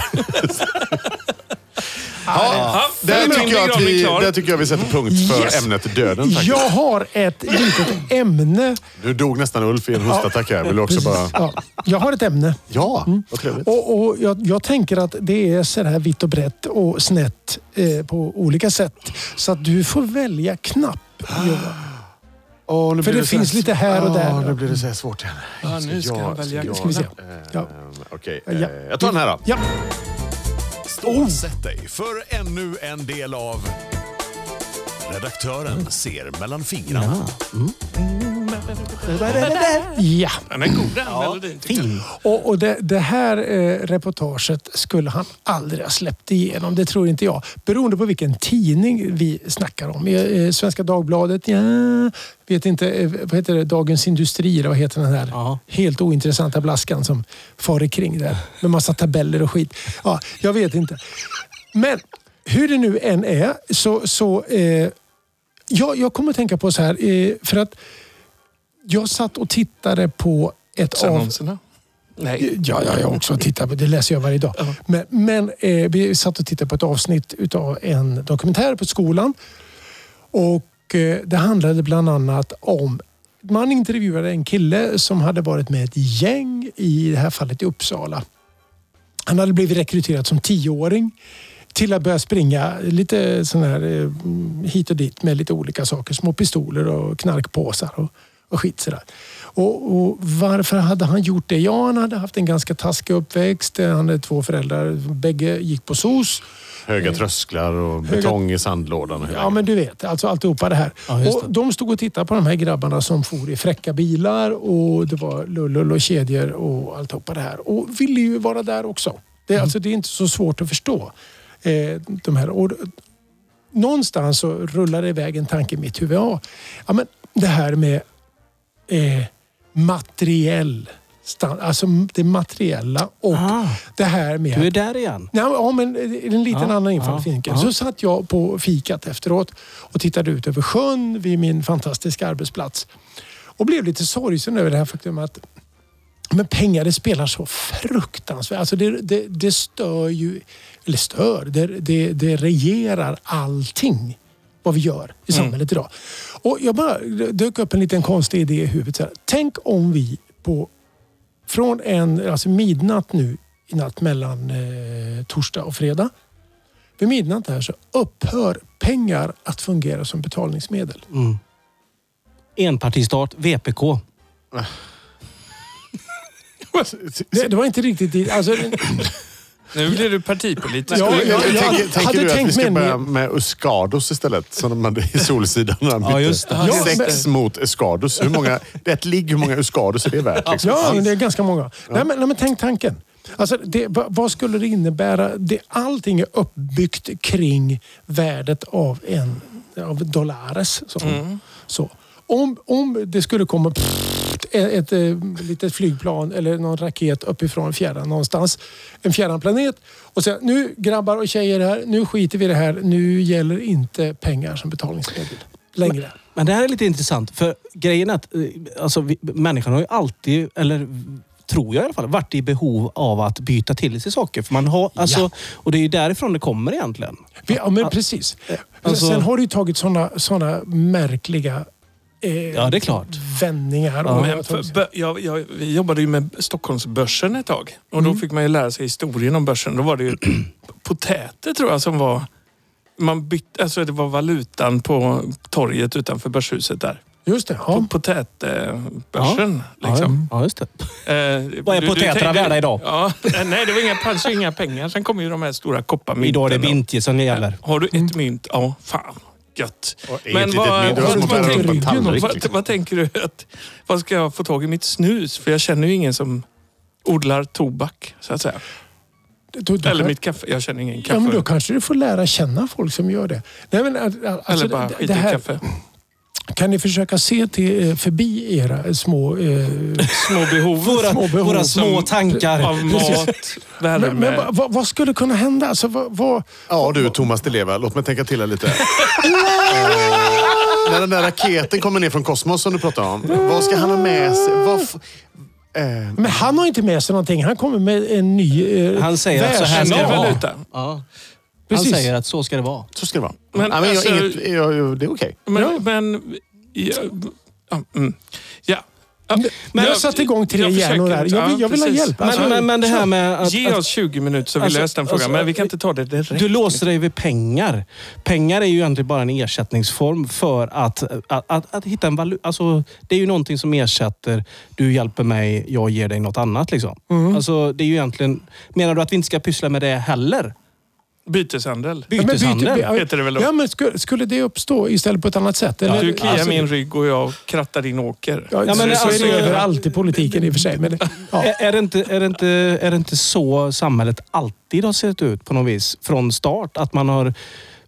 Speaker 3: Ja,
Speaker 1: Ja, där,
Speaker 3: min
Speaker 1: tycker jag att
Speaker 3: begravning
Speaker 1: vi,
Speaker 3: klar.
Speaker 1: där tycker jag vi sätter punkt för
Speaker 4: Yes.
Speaker 1: ämnet döden. Faktiskt.
Speaker 4: Jag har ett litet ämne.
Speaker 1: Nu dog nästan Ulf i en hostattack här. Vill du också bara...
Speaker 4: Ja, jag har ett ämne.
Speaker 1: Ja, vad trevligt.
Speaker 4: Och, och jag, jag tänker att det är så här vitt och brett och snett eh, på olika sätt. Så att du får välja knapp. Johan.
Speaker 1: Ah. Åh, nu
Speaker 4: För
Speaker 1: blir
Speaker 4: det finns
Speaker 1: så här-
Speaker 4: lite här och
Speaker 1: Åh,
Speaker 4: där.
Speaker 1: nu blir det så här svårt igen.
Speaker 3: Ja, nu ska han välja
Speaker 1: jag-
Speaker 4: Ska vi se.
Speaker 1: Ehm,
Speaker 4: Ja.
Speaker 1: Okej,
Speaker 4: Ja.
Speaker 1: eh, jag tar den här då.
Speaker 4: Ja.
Speaker 6: Stå och sätt dig för ännu en del av Redaktören ser mellan fingrarna.
Speaker 4: ja.
Speaker 3: Den är god den melodin. tycker jag.
Speaker 4: Och, och det, det här eh, reportaget skulle han aldrig ha släppt igenom. Det tror inte jag. Beroende på vilken tidning vi snackar om. Eh, eh, Svenska Dagbladet? Ja, vet inte. eh, Vad heter det? Dagens Industri? Eller vad heter den här
Speaker 2: Ja.
Speaker 4: helt ointressanta blaskan som far kring där med massa tabeller och skit? Ja, jag vet inte. Men hur det nu än är så... så eh, jag, jag kommer att tänka på så här, eh, för att jag satt och tittade på ett av...
Speaker 3: Annonserna. Nej.
Speaker 4: Ja, ja, jag har också tittat på det. läser jag varje dag. Men, men eh, vi satt och tittade på ett avsnitt utav en dokumentär på skolan. Och eh, det handlade bland annat om man intervjuade en kille som hade varit med ett gäng i det här fallet i Uppsala. Han hade blivit rekryterad som tioåring till att börja springa lite sån här eh, mm, hit och dit med lite olika saker. Små pistoler och knarkpåsar och, och skit sådär. Och, och varför hade han gjort det? Ja, han hade haft en ganska taskig uppväxt. Eh, Han hade två föräldrar. Bägge gick på SOS.
Speaker 1: Höga trösklar och betong i sandlådan. och hela
Speaker 4: Ja, men du vet. Alltså alltihopa det här.
Speaker 2: Ja, just det.
Speaker 4: och de stod och tittade på de här grabbarna som for i fräcka bilar och det var lullull och kedjor och alltihopa det här. Och ville ju vara där också. Det, är
Speaker 2: Mm.
Speaker 4: alltså, det är inte så svårt att förstå. Eh, de här. Och, någonstans så rullade iväg en tanke i mitt huvud. Ja, ja, men det här med eh, materiell stan- alltså det materiella och
Speaker 2: Ah.
Speaker 4: det här med
Speaker 2: Du är där igen.
Speaker 4: Nej, ja, men en liten
Speaker 2: Ja,
Speaker 4: annan
Speaker 2: ja,
Speaker 4: infallsvinkel.
Speaker 2: ja.
Speaker 4: Så satt jag på fikat efteråt och tittade ut över sjön vid min fantastiska arbetsplats. Och blev lite sorgsen över det här faktum att men pengar det spelar så fruktansvärt. Alltså det, det, det stör ju, eller stör, det, det, det regerar allting vad vi gör i
Speaker 2: Mm.
Speaker 4: samhället idag. Och jag bara det dök upp en liten konstig idé i huvudet. Så här. Tänk om vi på från en, alltså midnatt nu i natt mellan eh, torsdag och fredag. Vid midnatt här så upphör pengar att fungera som betalningsmedel.
Speaker 2: Mm. Enpartistat, VPK.
Speaker 4: [LAUGHS] Det, det var inte riktigt dit. Alltså,
Speaker 3: Nu blir du partipolitisk.
Speaker 4: Ja,
Speaker 1: Tänker-
Speaker 4: jag- jag
Speaker 1: tänker tänker
Speaker 4: hade
Speaker 1: du att vi
Speaker 4: tänkt
Speaker 1: ska
Speaker 4: med-
Speaker 1: börja med Uskados istället? Som de hade i Solsidan. när de bytte.
Speaker 2: just det.
Speaker 4: Ja,
Speaker 1: Sex mot Uskados. Hur många, det är ett ligg, hur många Uskados är det värt? Liksom?
Speaker 4: Ja, men det är ganska många. Nej, men, nej, men tänk tanken. Alltså, det, va- vad skulle det innebära? Det, allting är uppbyggt kring värdet av en av dollares. Så. Så. Om, om det skulle komma pff, ett, ett eh, litet flygplan eller någon raket uppifrån fjärran någonstans. En fjärran planet. Och säga nu grabbar och tjejer här, nu skiter vi i det här. Nu gäller inte pengar som betalningsmedel längre.
Speaker 2: Men det här är lite intressant. För grejen är att eh, alltså, vi, människan har ju alltid, eller tror jag i alla fall, varit i behov av att byta till sig saker. För man har, alltså, Och det är ju därifrån det kommer egentligen.
Speaker 4: Vi, ja, men precis.
Speaker 3: Eh,
Speaker 2: alltså-
Speaker 4: Sen har det ju tagit sådana såna märkliga eh,
Speaker 2: Ja, det är klart.
Speaker 4: vändningar.
Speaker 2: Ja,
Speaker 4: Och-
Speaker 3: Men för, bö- jag, jag, vi jobbade ju med Stockholmsbörsen ett tag. Och då
Speaker 2: Mm.
Speaker 3: fick man ju lära sig historien om börsen. Då
Speaker 2: [CLEARS THROAT]
Speaker 3: var det ju potäter tror jag som var... Man bytte, alltså det var valutan på torget utanför börshuset där.
Speaker 4: Just det. Ja.
Speaker 3: På potätbörsen. Liksom.
Speaker 2: Ja, just det.
Speaker 3: Eh,
Speaker 2: Vad är
Speaker 3: du- du
Speaker 2: potäterna
Speaker 3: tänkte-
Speaker 2: värda idag?
Speaker 3: Ja, eh, nej, det var inga, fanns ju inga pengar. Sen kom ju de här stora kopparmynten.
Speaker 2: Idag är det
Speaker 3: då.
Speaker 2: bintje som gäller.
Speaker 3: Har du ett mynt? Ja, fan. Gött.
Speaker 1: Och ett litet mynt, det var
Speaker 3: vad,
Speaker 1: som att
Speaker 3: vad,
Speaker 1: bära upp en
Speaker 3: tänker,
Speaker 1: tallrik,
Speaker 3: vad,
Speaker 1: liksom.
Speaker 3: vad tänker du? Att, vad ska jag få tag i mitt snus? För jag känner ju ingen som odlar tobak, så att säga.
Speaker 4: Du, du,
Speaker 3: Eller mitt kaffe. Jag känner ingen
Speaker 4: ja,
Speaker 3: kaffe.
Speaker 4: men då kanske du får lära känna folk som gör det. Nej, men, att- att- alltså,
Speaker 3: Eller bara
Speaker 4: det-
Speaker 3: skit
Speaker 4: det
Speaker 3: i
Speaker 4: här,
Speaker 3: kaffe.
Speaker 4: Kan ni försöka se till, eh, förbi era eh, små... Eh,
Speaker 3: Små behov.
Speaker 2: Våra små,
Speaker 4: behov
Speaker 2: våra små
Speaker 3: som-
Speaker 2: tankar.
Speaker 3: Av
Speaker 2: [LAUGHS]
Speaker 3: mat, värme.
Speaker 4: men, men, vad- vad, vad skulle kunna hända? Alltså, vad, vad,
Speaker 1: Ja du Thomas Di Leva, låt mig tänka till här lite. Eh, När den där raketen kommer ner från kosmos som du pratade om. Vad ska han ha med sig? Vad f- eh,
Speaker 4: men han har inte med sig någonting. Han kommer med en ny... Eh,
Speaker 2: Han säger att så här ska det
Speaker 3: Världsnorm.
Speaker 2: vara.
Speaker 3: Valuta.
Speaker 2: Ja. Han
Speaker 4: Precis.
Speaker 2: säger att så ska det vara.
Speaker 1: så ska det vara.
Speaker 3: Men
Speaker 1: Men, Nej, men
Speaker 3: alltså-
Speaker 1: jag, inget, jag, jag, det är okej.
Speaker 3: Men, men ja, ja, mm, ja. Ja,
Speaker 4: men jag
Speaker 3: jag-
Speaker 4: satte igång tre
Speaker 3: jag försöker
Speaker 4: hjärnor där.
Speaker 3: inte.
Speaker 4: Jag vill,
Speaker 3: Ja,
Speaker 4: jag vill ha
Speaker 3: precis.
Speaker 4: hjälp. Alltså,
Speaker 2: Men, men, men det här med att...
Speaker 3: Ge
Speaker 2: att-
Speaker 3: oss 20 minuter så vi
Speaker 2: Alltså,
Speaker 3: löser den frågan.
Speaker 2: alltså,
Speaker 3: men vi kan inte ta det direkt.
Speaker 2: Du låser dig vid pengar. Pengar är ju egentligen bara en ersättningsform för att, att, att, att hitta en valuta. Alltså, det är ju någonting som ersätter. Du hjälper mig, jag ger dig något annat. Liksom. Alltså, det är ju egentligen, menar du att vi inte ska pyssla med det heller?
Speaker 3: Byteshandel.
Speaker 4: Ja, men
Speaker 2: Byteshandel?
Speaker 4: byte- by-
Speaker 3: Heter det väl då?
Speaker 4: Ja, men skulle, skulle det uppstå istället på ett annat sätt? Eller?
Speaker 3: Du kliar
Speaker 4: Alltså,
Speaker 3: min rygg och jag krattar din åker.
Speaker 4: Ja,
Speaker 2: men
Speaker 4: men så
Speaker 2: alltså-
Speaker 4: är det överallt i politiken i och för sig. Men,
Speaker 3: Eh,
Speaker 4: ja.
Speaker 2: Är, är, det inte, är, det inte, är det inte så samhället alltid har sett ut på något vis? Från start. Att man har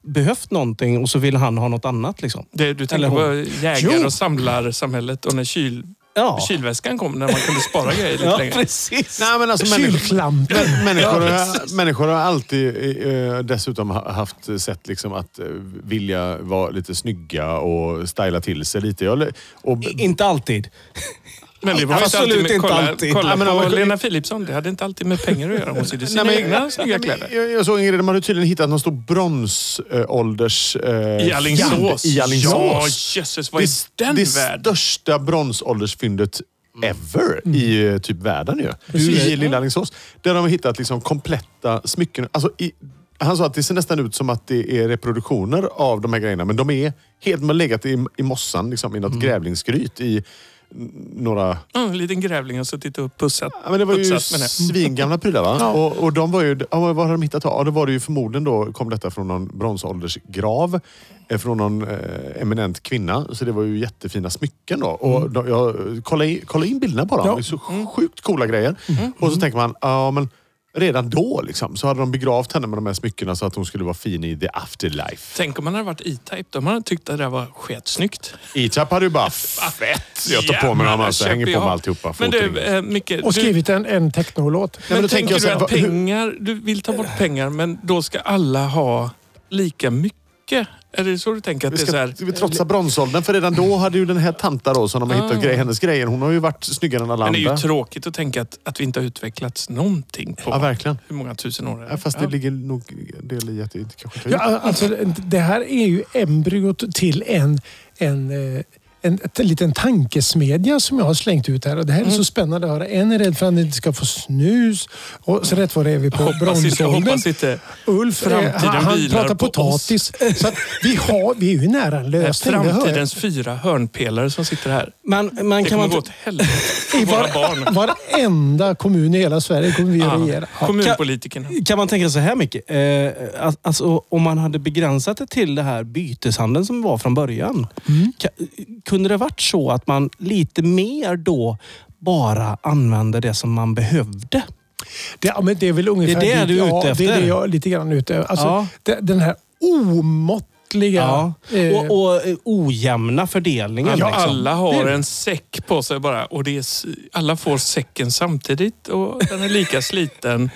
Speaker 2: behövt någonting och så vill han ha något annat. Liksom.
Speaker 3: Det, du
Speaker 2: Eller
Speaker 3: tänker
Speaker 2: hon.
Speaker 3: på jägar
Speaker 4: Jo.
Speaker 3: och samlarsamhället och när kyl,
Speaker 2: Ja,
Speaker 3: kylväskan kom, när man kunde spara grejer lite
Speaker 2: ja
Speaker 3: längre.
Speaker 2: precis.
Speaker 1: Nej, men alltså, människor,
Speaker 4: Kylklampen.
Speaker 1: [LAUGHS] män- människor, har, människor har alltid eh, dessutom ha- haft sätt liksom, att eh, vilja vara lite snygga och styla till sig lite. Jag, och,
Speaker 2: I- Inte alltid.
Speaker 3: Men det var
Speaker 2: Absolut
Speaker 3: inte alltid. Med,
Speaker 2: inte
Speaker 3: kolla
Speaker 2: alltid.
Speaker 3: kolla
Speaker 1: Ja, men om
Speaker 3: på
Speaker 1: man-
Speaker 3: Lena Philipsson, det hade inte alltid med pengar att göra. Hon sydde sina
Speaker 1: Nej, men-
Speaker 3: egna snygga
Speaker 1: Nej, men
Speaker 3: kläder.
Speaker 1: Jag, jag såg en grej, de hade tydligen hittat någon stor bronsålders... Eh,
Speaker 3: I Alingsås.
Speaker 1: fynd I
Speaker 3: Ja,
Speaker 1: Alingsås.
Speaker 3: jösses. Vad är
Speaker 1: det
Speaker 3: den Mm.
Speaker 1: det
Speaker 3: värd?
Speaker 1: största bronsåldersfyndet ever i
Speaker 3: Mm.
Speaker 1: eh, typ världen ju. I lilla Alingsås. Där de har hittat liksom kompletta smycken. Alltså, i, han sa att det ser nästan ut som att det är reproduktioner av de här grejerna. Men de är helt... De har legat i, i mossan liksom, i något grävlingsgryt i n- några
Speaker 3: Mm, en liten grävling har suttit och pussat.
Speaker 1: Ja, men det var ju
Speaker 3: putsat med det.
Speaker 1: svingamla prylar va? Och, och de var ju, ja, vad hade de hittat då? Ja, då var det ju förmodligen då kom detta från någon bronsåldersgrav. eh, Från någon eh, eminent kvinna. Så det var ju jättefina smycken då. Och då jag, kolla, in, kolla in bilderna bara. Det är så
Speaker 3: Mm.
Speaker 1: sjukt coola grejer. Och så tänker man, ja men redan då liksom, så hade de begravt henne med de här smyckena så att hon skulle vara fin i the afterlife.
Speaker 3: Tänk om man hade varit E-Type. De hade tyckt att det där var sketsnyggt.
Speaker 1: E-Trap hade ju
Speaker 3: [LAUGHS]
Speaker 1: bara, fett! Jag tar på mig dem
Speaker 3: Jävlar,
Speaker 1: alltså.
Speaker 3: köper
Speaker 1: Hänger på
Speaker 3: jag.
Speaker 1: mig alltihopa. liksom.
Speaker 3: Men du,
Speaker 1: fotringar.
Speaker 3: eh, Micke.
Speaker 4: Och
Speaker 3: du-
Speaker 4: skrivit en, en technolåt.
Speaker 1: Nej, men då
Speaker 3: Men tänker
Speaker 1: tänker jag så
Speaker 3: du
Speaker 1: här,
Speaker 3: att
Speaker 1: va- hur-
Speaker 3: pengar, du vill ta bort pengar men då ska alla ha lika mycket? Är det så du tänker? Att
Speaker 1: Vi
Speaker 3: det är så
Speaker 1: ska,
Speaker 3: här,
Speaker 1: ska vi trotsa bronsåldern? För redan då hade ju den här tanta då som de har hittat grej, hennes grejer. Hon har ju varit snyggare än alla
Speaker 3: men det Ah. är ju
Speaker 1: andra.
Speaker 3: tråkigt att tänka att, att vi inte har utvecklats någonting på
Speaker 1: Ja, verkligen.
Speaker 3: hur många tusen år. är det?
Speaker 1: Ja, fast det
Speaker 3: Ja.
Speaker 1: ligger nog en del i att det inte kanske inte
Speaker 4: Ja, alltså, det här är ju embryot till en, en, eh, en, ett- en liten tankesmedja som jag har slängt ut här. Och det här är
Speaker 3: Mm.
Speaker 4: så spännande att höra. En är rädd för att han inte ska få snus. Och så rätt vad det är vi på
Speaker 3: Hoppas inte,
Speaker 4: bronsåldern.
Speaker 3: hoppas inte.
Speaker 4: Ulf, eh,
Speaker 3: Framtiden
Speaker 4: han, han
Speaker 3: vilar
Speaker 4: pratar
Speaker 3: på
Speaker 4: potatis. Så att vi, har, vi är ju nära en
Speaker 3: Det är
Speaker 4: lösning. det hör jag.
Speaker 3: framtidens fyra hörnpelare som sitter här.
Speaker 2: Men, men
Speaker 3: Det
Speaker 2: kan
Speaker 3: kommer
Speaker 2: man... inte-
Speaker 3: gå åt helvete för våra
Speaker 1: [LAUGHS]
Speaker 3: barn.
Speaker 4: Varenda kommun i hela Sverige kommer vi att regera.
Speaker 3: Ja, kommunpolitikerna.
Speaker 2: Kan man tänka så här mycket? Eh, att- alltså, om man hade begränsat det till det här byteshandeln som var från början.
Speaker 3: Mm.
Speaker 2: Ka- kunde det varit så att man lite mer då bara använde det som man behövde?
Speaker 4: Det, ja, men det är väl ungefär
Speaker 2: Det är det
Speaker 4: dit-
Speaker 2: du är ute
Speaker 4: ja, Det är
Speaker 2: efter.
Speaker 4: det jag är lite grann ute efter. Alltså,
Speaker 2: Ja.
Speaker 4: de- Den här omåttliga... eh,
Speaker 2: Och, och eh, ojämna fördelningen.
Speaker 3: Ja,
Speaker 2: liksom.
Speaker 3: alla har
Speaker 4: Det är-
Speaker 3: en säck på sig bara. Och det är, s- alla får säcken samtidigt och den är lika sliten.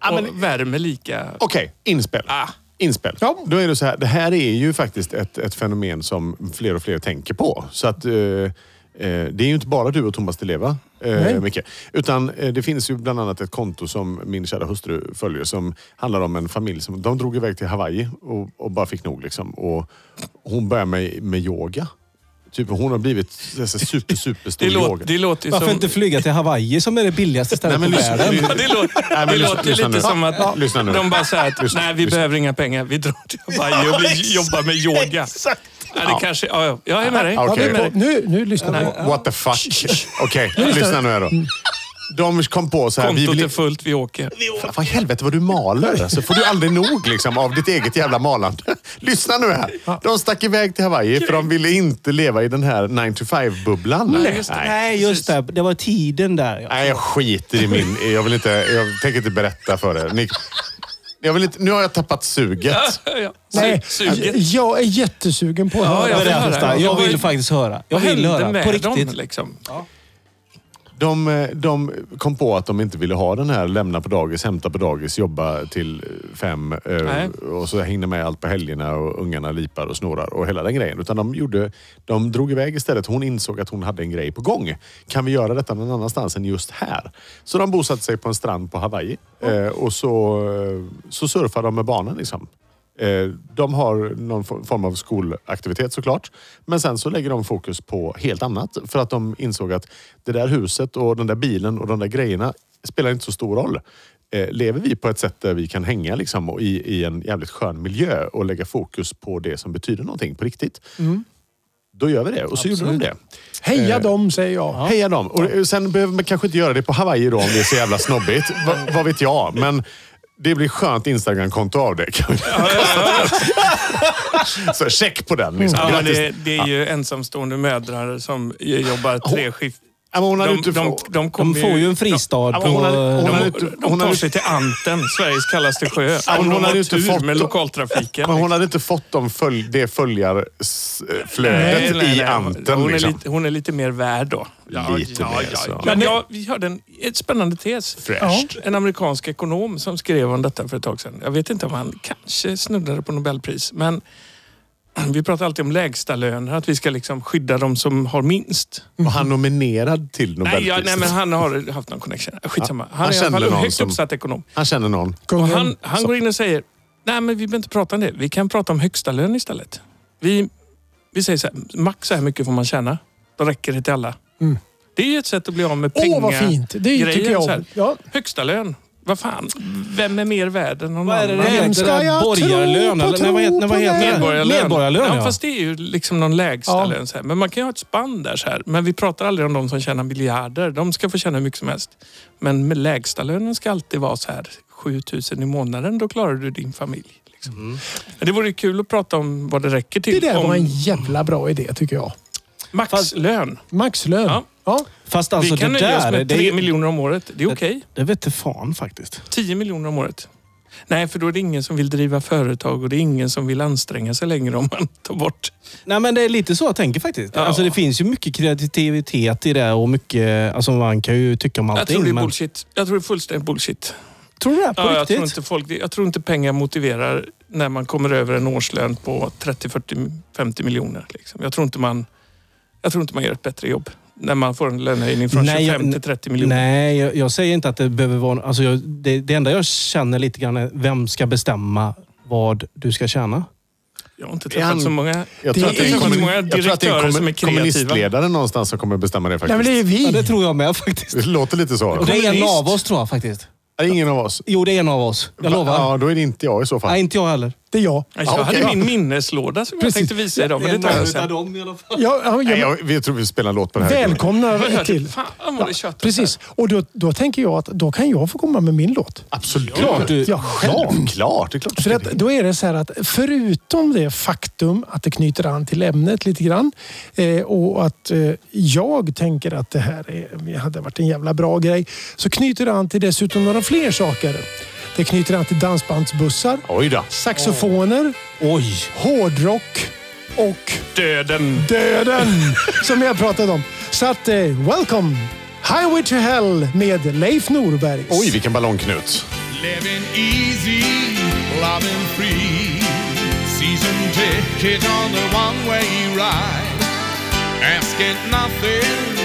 Speaker 1: Ja, men-
Speaker 3: Och värmer lika.
Speaker 1: Okej, inspel.
Speaker 3: Ah.
Speaker 1: Inspel.
Speaker 4: Ja.
Speaker 1: Då är det så här, det här är ju faktiskt ett, ett fenomen som fler och fler tänker på. Så att eh, eh, det är ju inte bara du och Thomas Di Leva, eh,
Speaker 4: Nej.
Speaker 1: Micke. Utan eh, det finns ju bland annat ett konto som min kära hustru följer som handlar om en familj som de drog iväg till Hawaii och, och bara fick nog. Liksom. Och hon börjar med, med yoga. Typ, hon har blivit så här, super, superstor
Speaker 3: Det, låter,
Speaker 1: yoga.
Speaker 3: det låter ju
Speaker 2: Varför
Speaker 3: som...
Speaker 2: inte flyga till Hawaii som är det billigaste stället på
Speaker 1: lyssna,
Speaker 2: världen?
Speaker 1: lyssna.
Speaker 3: [LAUGHS] Ja, det låter,
Speaker 1: Nej, men
Speaker 3: det
Speaker 1: lyssna-
Speaker 3: låter
Speaker 1: lyssna
Speaker 3: lite
Speaker 1: nu.
Speaker 3: som att
Speaker 1: Ja, lyssna nu.
Speaker 3: de bara säger att
Speaker 1: Lyssna,
Speaker 3: nej, vi
Speaker 1: lyssna.
Speaker 3: behöver inga pengar. Vi drar till Hawaii och blir, jobbar med
Speaker 2: [LAUGHS]
Speaker 3: yoga.
Speaker 1: Exakt.
Speaker 3: Ja, det kanske, ja, ja, jag är med dig.
Speaker 1: Ja,
Speaker 4: ja,
Speaker 1: okej.
Speaker 4: det är på, nu, nu lyssnar vi.
Speaker 1: What the fuck? Okej, lyssna nu här då. De kom på så här, vi
Speaker 3: Mm. Kontot
Speaker 1: vill
Speaker 3: är fullt, vi åker.
Speaker 1: Fan, Vad i helvete vad du maler. Alltså, får du aldrig nog liksom, av ditt eget jävla malande. [LAUGHS] Lyssna nu här. De stack iväg till Hawaii för de ville inte leva i den här 9 to 5-bubblan.
Speaker 3: Nej, just det.
Speaker 1: Nej.
Speaker 2: Nej, just det. Det var tiden där. ja.
Speaker 1: Nej, jag skiter i min... Jag, vill inte, jag tänker inte berätta för er. Ni, jag vill inte, nu har jag
Speaker 3: [LAUGHS]
Speaker 1: tappat suget.
Speaker 3: [LAUGHS] Ja, ja.
Speaker 4: Nej,
Speaker 3: Suget.
Speaker 4: jag är jättesugen på att
Speaker 3: Ja,
Speaker 4: höra.
Speaker 3: jag vill höra.
Speaker 2: Berätta. Jag
Speaker 3: Vad-
Speaker 2: vill faktiskt höra. Jag
Speaker 3: Vad
Speaker 2: vill
Speaker 3: hände
Speaker 2: höra. På
Speaker 3: med
Speaker 2: riktigt.
Speaker 3: dem liksom?
Speaker 1: De, eh, de kom på att de inte ville ha den här lämna på dagis, hämta på dagis, jobba till eh, fem eh,
Speaker 3: Nej.
Speaker 1: och så hinna med allt på helgerna och ungarna lipar och snorar och hela den grejen. Utan de, gjorde, de drog iväg istället. Hon insåg att hon hade en grej på gång. Kan vi göra detta någon annanstans än just här? Så de bosatte sig på en strand på Hawaii eh, och så, eh, så surfar de med barnen. Liksom. Eh, De har någon for- form av skolaktivitet såklart. Men sen så lägger de fokus på helt annat. För att de insåg att det där huset och den där bilen och de där grejerna spelar inte så stor roll. Eh, Lever vi på ett sätt där vi kan hänga liksom, och i, i en jävligt skön miljö och lägga fokus på det som betyder någonting på riktigt. Då gör vi det. Och så gjorde de det.
Speaker 3: Eh,
Speaker 4: Heja dem, säger jag.
Speaker 1: Heja dem. Och sen behöver man kanske inte göra det på Hawaii då om det är så
Speaker 3: [LAUGHS]
Speaker 1: jävla snobbigt. Va, vad vet jag. Men det blir skönt Instagram-konto av det. Kan vi så check på den. Liksom.
Speaker 3: Ja, men
Speaker 1: Grattis.
Speaker 3: det, det är ju ensamstående mödrar som jobbar tre skift.
Speaker 1: Ja, men hon hade
Speaker 3: De,
Speaker 1: inte
Speaker 3: de, de,
Speaker 1: fått-
Speaker 2: De
Speaker 3: kommer
Speaker 2: får ju en fristad
Speaker 1: Ja,
Speaker 2: på...
Speaker 1: men hon hade- hon
Speaker 3: De,
Speaker 1: hade
Speaker 3: de,
Speaker 1: inte- hon
Speaker 3: tar
Speaker 1: hade
Speaker 3: sig till Anten, Sveriges kallaste sjö.
Speaker 1: Ja,
Speaker 3: Om
Speaker 1: men hon
Speaker 3: de
Speaker 1: hade
Speaker 3: har
Speaker 1: ju inte
Speaker 3: tur
Speaker 1: fått-
Speaker 3: med
Speaker 1: Men
Speaker 3: lokaltrafiken.
Speaker 1: hon hade inte fått de följ, det följarflödet i Anten.
Speaker 3: Hon, är
Speaker 1: liksom.
Speaker 3: lite, hon är lite mer värd då.
Speaker 1: Lite mer så.
Speaker 3: Men jag, vi hörde en ett spännande tes.
Speaker 1: Fräscht.
Speaker 3: En amerikansk ekonom som skrev om detta för ett tag sedan. Jag vet inte om han kanske snuddade på Nobelpris, men [CLEARS THROAT] vi pratar alltid om lägsta löner, att vi ska liksom skydda de som har minst.
Speaker 1: Var han nominerad till
Speaker 3: Nej,
Speaker 1: Nobelpriset?
Speaker 3: ja, nej, men han har haft någon connection. Skitsamma. Han,
Speaker 1: han
Speaker 3: är i alla
Speaker 1: kände
Speaker 3: fall en
Speaker 1: någon
Speaker 3: högt
Speaker 1: som-
Speaker 3: uppsatt ekonom.
Speaker 1: Han känner någon.
Speaker 3: Och
Speaker 4: Kungen.
Speaker 3: han han går in och säger, nej men vi behöver inte prata om det. Vi kan prata om högsta lön istället. Vi, vi säger så här, max så här mycket får man tjäna. Då räcker det till alla. Det är ju ett sätt att bli av med pengar.
Speaker 4: Mm. Åh, vad fint. Det
Speaker 3: grejen,
Speaker 4: tycker
Speaker 3: så
Speaker 4: jag
Speaker 3: här.
Speaker 4: om. Ja.
Speaker 3: Högsta lön. Vad fan, vem är mer värd än någon
Speaker 2: Vad är det
Speaker 3: annan?
Speaker 2: det heter?
Speaker 4: Vem ska
Speaker 2: Det där
Speaker 4: jag tro
Speaker 2: borgarlön,
Speaker 4: på,
Speaker 2: eller? Nej,
Speaker 4: tro
Speaker 2: vad heter- nej, vad
Speaker 4: på
Speaker 2: heter
Speaker 4: det?
Speaker 2: det?
Speaker 3: Medborgarlön.
Speaker 2: Eh, Medborgarlön, ja.
Speaker 3: Fast det är ju liksom någon lägsta
Speaker 4: Ja.
Speaker 3: lön. Så här. Men man kan ju ha ett spann där. Så här. Men vi pratar aldrig om de som tjänar miljarder. De ska få tjäna hur mycket som helst. Men med lägsta lönen ska alltid vara så här 7000 i månaden. Då klarar du din familj. Liksom. Men det vore ju kul att prata om vad det räcker
Speaker 4: Det
Speaker 3: till.
Speaker 4: där var en
Speaker 3: om
Speaker 4: jävla bra idé, tycker jag.
Speaker 3: maxlön.
Speaker 4: Maxlön.
Speaker 3: Ja.
Speaker 4: Ja.
Speaker 2: Fast alltså
Speaker 3: vi kan
Speaker 2: det
Speaker 3: nöja oss
Speaker 2: där...
Speaker 3: med
Speaker 2: det
Speaker 3: 3
Speaker 2: är ju-
Speaker 3: miljoner om året. Det är okej.
Speaker 2: Det vete fan faktiskt.
Speaker 3: 10 miljoner om året. Nej, för då är det ingen som vill driva företag och det är ingen som vill anstränga sig längre om man tar bort
Speaker 2: Nej, men det är lite så jag tänker faktiskt.
Speaker 3: Ja.
Speaker 2: Alltså, det finns ju mycket kreativitet i det och mycket... Alltså, man kan ju tycka om allting.
Speaker 3: Jag tror det är
Speaker 2: men-
Speaker 3: bullshit. Jag tror det är fullständigt bullshit.
Speaker 2: Tror du det? På
Speaker 3: Ja, jag, tror
Speaker 2: riktigt?
Speaker 3: inte folk, jag tror inte pengar motiverar när man kommer över en årslön på 30, 40, 50 miljoner. Liksom. Jag, tror inte man, jag tror inte man gör ett bättre jobb när man får en lönehöjning från
Speaker 2: Nej, jag-
Speaker 3: 25 till 30 miljoner.
Speaker 2: Nej, jag, jag säger inte att det behöver vara... Alltså jag, det, det enda jag känner lite grann är vem ska bestämma vad du ska tjäna?
Speaker 3: Jag har inte
Speaker 1: Är
Speaker 3: träffat
Speaker 1: han-
Speaker 3: så många.
Speaker 1: Jag
Speaker 3: det
Speaker 1: tror att det
Speaker 3: är inte
Speaker 1: är en
Speaker 3: så
Speaker 1: kommun-
Speaker 3: många
Speaker 1: jag tror att det är en
Speaker 3: direktörer som är
Speaker 1: kommun-
Speaker 3: kreativa.
Speaker 1: kommunistledaren någonstans som kommer bestämma det
Speaker 4: Nej,
Speaker 1: faktiskt.
Speaker 4: men det är ju vi.
Speaker 2: Ja, det tror jag med faktiskt.
Speaker 1: det låter lite så.
Speaker 2: Det är en
Speaker 3: Kommunist.
Speaker 2: av oss tror jag faktiskt.
Speaker 1: Det är ingen av oss.
Speaker 2: Jo, det är en av oss. Jag lovar.
Speaker 1: Ja, då är det inte jag i så fall.
Speaker 2: Nej, inte jag heller.
Speaker 4: Det är jag.
Speaker 3: Nej, Jag
Speaker 1: Ja,
Speaker 3: hade
Speaker 1: okej.
Speaker 3: min minneslåda som
Speaker 4: Precis.
Speaker 3: jag tänkte visa idag, men det tar jag sen.
Speaker 2: dem i alla fall.
Speaker 4: Ja, ja,
Speaker 1: Nej,
Speaker 4: jag
Speaker 1: jag, vi tror vi spelar en låt på det här.
Speaker 4: välkomnar er till.
Speaker 3: Fan vad det tjötar.
Speaker 4: Precis. Och då, då tänker jag att då kan jag få komma med min låt.
Speaker 1: Absolut.
Speaker 2: Klart du-
Speaker 1: Ja, självklart. Det är klart du
Speaker 4: För
Speaker 1: ska
Speaker 4: att,
Speaker 1: det.
Speaker 4: då är det så här att förutom det faktum att det knyter an till ämnet lite grann eh, och att eh, jag tänker att det här är, hade varit en jävla bra grej så knyter det an till dessutom några fler saker. Det knyter an till dansbandsbussar,
Speaker 1: Oj då.
Speaker 4: saxofoner,
Speaker 2: Oj!
Speaker 4: hårdrock och
Speaker 3: Döden.
Speaker 4: döden som jag pratade om. Så att, eh, welcome! Highway to Hell med Leif Norberg.
Speaker 1: Oj, vilken ballongknut.
Speaker 7: Living easy, loving free. Season ticket on the one-way ride. Asking nothing,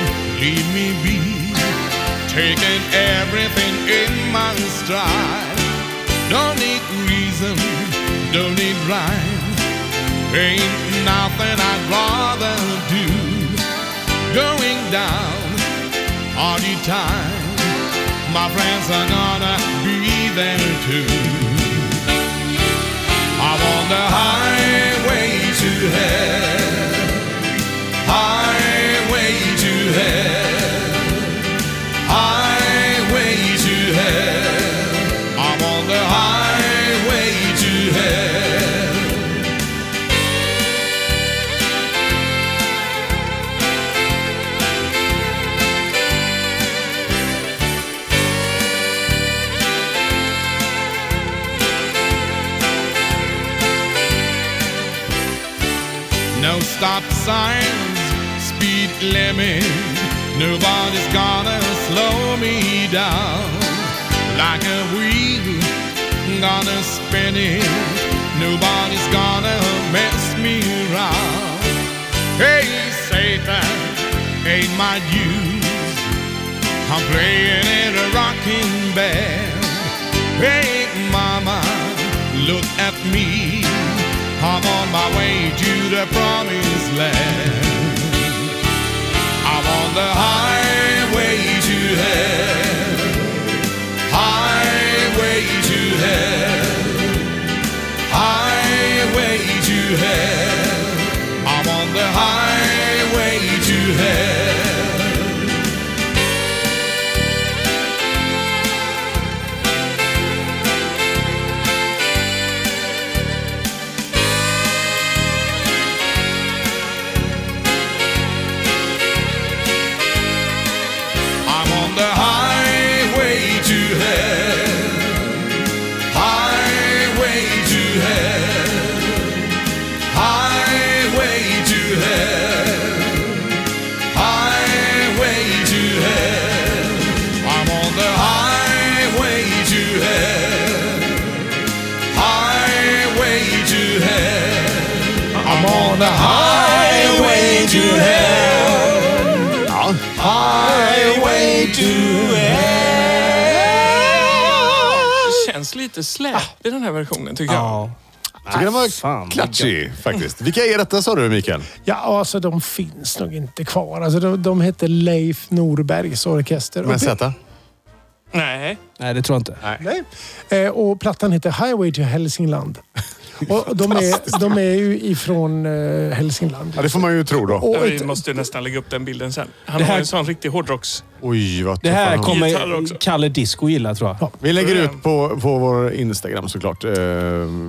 Speaker 7: leave me be. Taking everything in my stride. Don't need reason, don't need rhyme. Ain't nothing I'd rather do. Going down all the time. My friends are gonna be there too. I'm on the highway to hell. Highway to hell. Highway to hell. I'm on the highway to hell. No stop signs, speed limit. Nobody's gonna slow me down. Like a wheel, gonna spin it. Nobody's gonna mess me around. Hey, Satan, ain't my dues. I'm playing in a rocking band. Hey, mama, look at me. I'm on my way to the promised land. I'm on the highway to hell. Highway to hell. Highway to hell. I'm on the highway to hell. I'm on the highway to hell. Highway to hell. Highway to hell. Highway to hell. I'm on the highway to hell. Highway to hell. I'm on the highway to hell.
Speaker 1: Ja.
Speaker 7: Highway to hell.
Speaker 3: Känns lite släp i den här versionen tycker jag.
Speaker 2: Ja.
Speaker 1: Jag tycker den var
Speaker 2: Fan,
Speaker 1: klatschig faktiskt. Vilka är detta sa du Mikael?
Speaker 4: Ja, alltså de finns nog inte kvar. Alltså, de, de hette Leif Norbergs orkester.
Speaker 1: Med
Speaker 4: Och det-
Speaker 1: Z?
Speaker 3: Nej.
Speaker 2: Nej, det tror jag inte.
Speaker 4: Nej. Eh, Och plattan heter Highway to
Speaker 1: [LAUGHS]
Speaker 4: Hälsingland. Och de, är, de är ju ifrån eh, Hälsingland.
Speaker 1: Ja, det får man ju tro då.
Speaker 4: Och eh,
Speaker 3: Vi
Speaker 4: ett,
Speaker 3: måste ju nästan lägga upp den bilden sen. Han
Speaker 2: Det
Speaker 3: har
Speaker 2: här-
Speaker 3: ju en sån riktig hårdrocks...
Speaker 1: Oj, vad
Speaker 2: Det här
Speaker 1: tuffa de-
Speaker 3: Gitarr också.
Speaker 2: kommer Kalle Disco gilla tror jag.
Speaker 1: Vi lägger ut på, på vår Instagram såklart. Eh,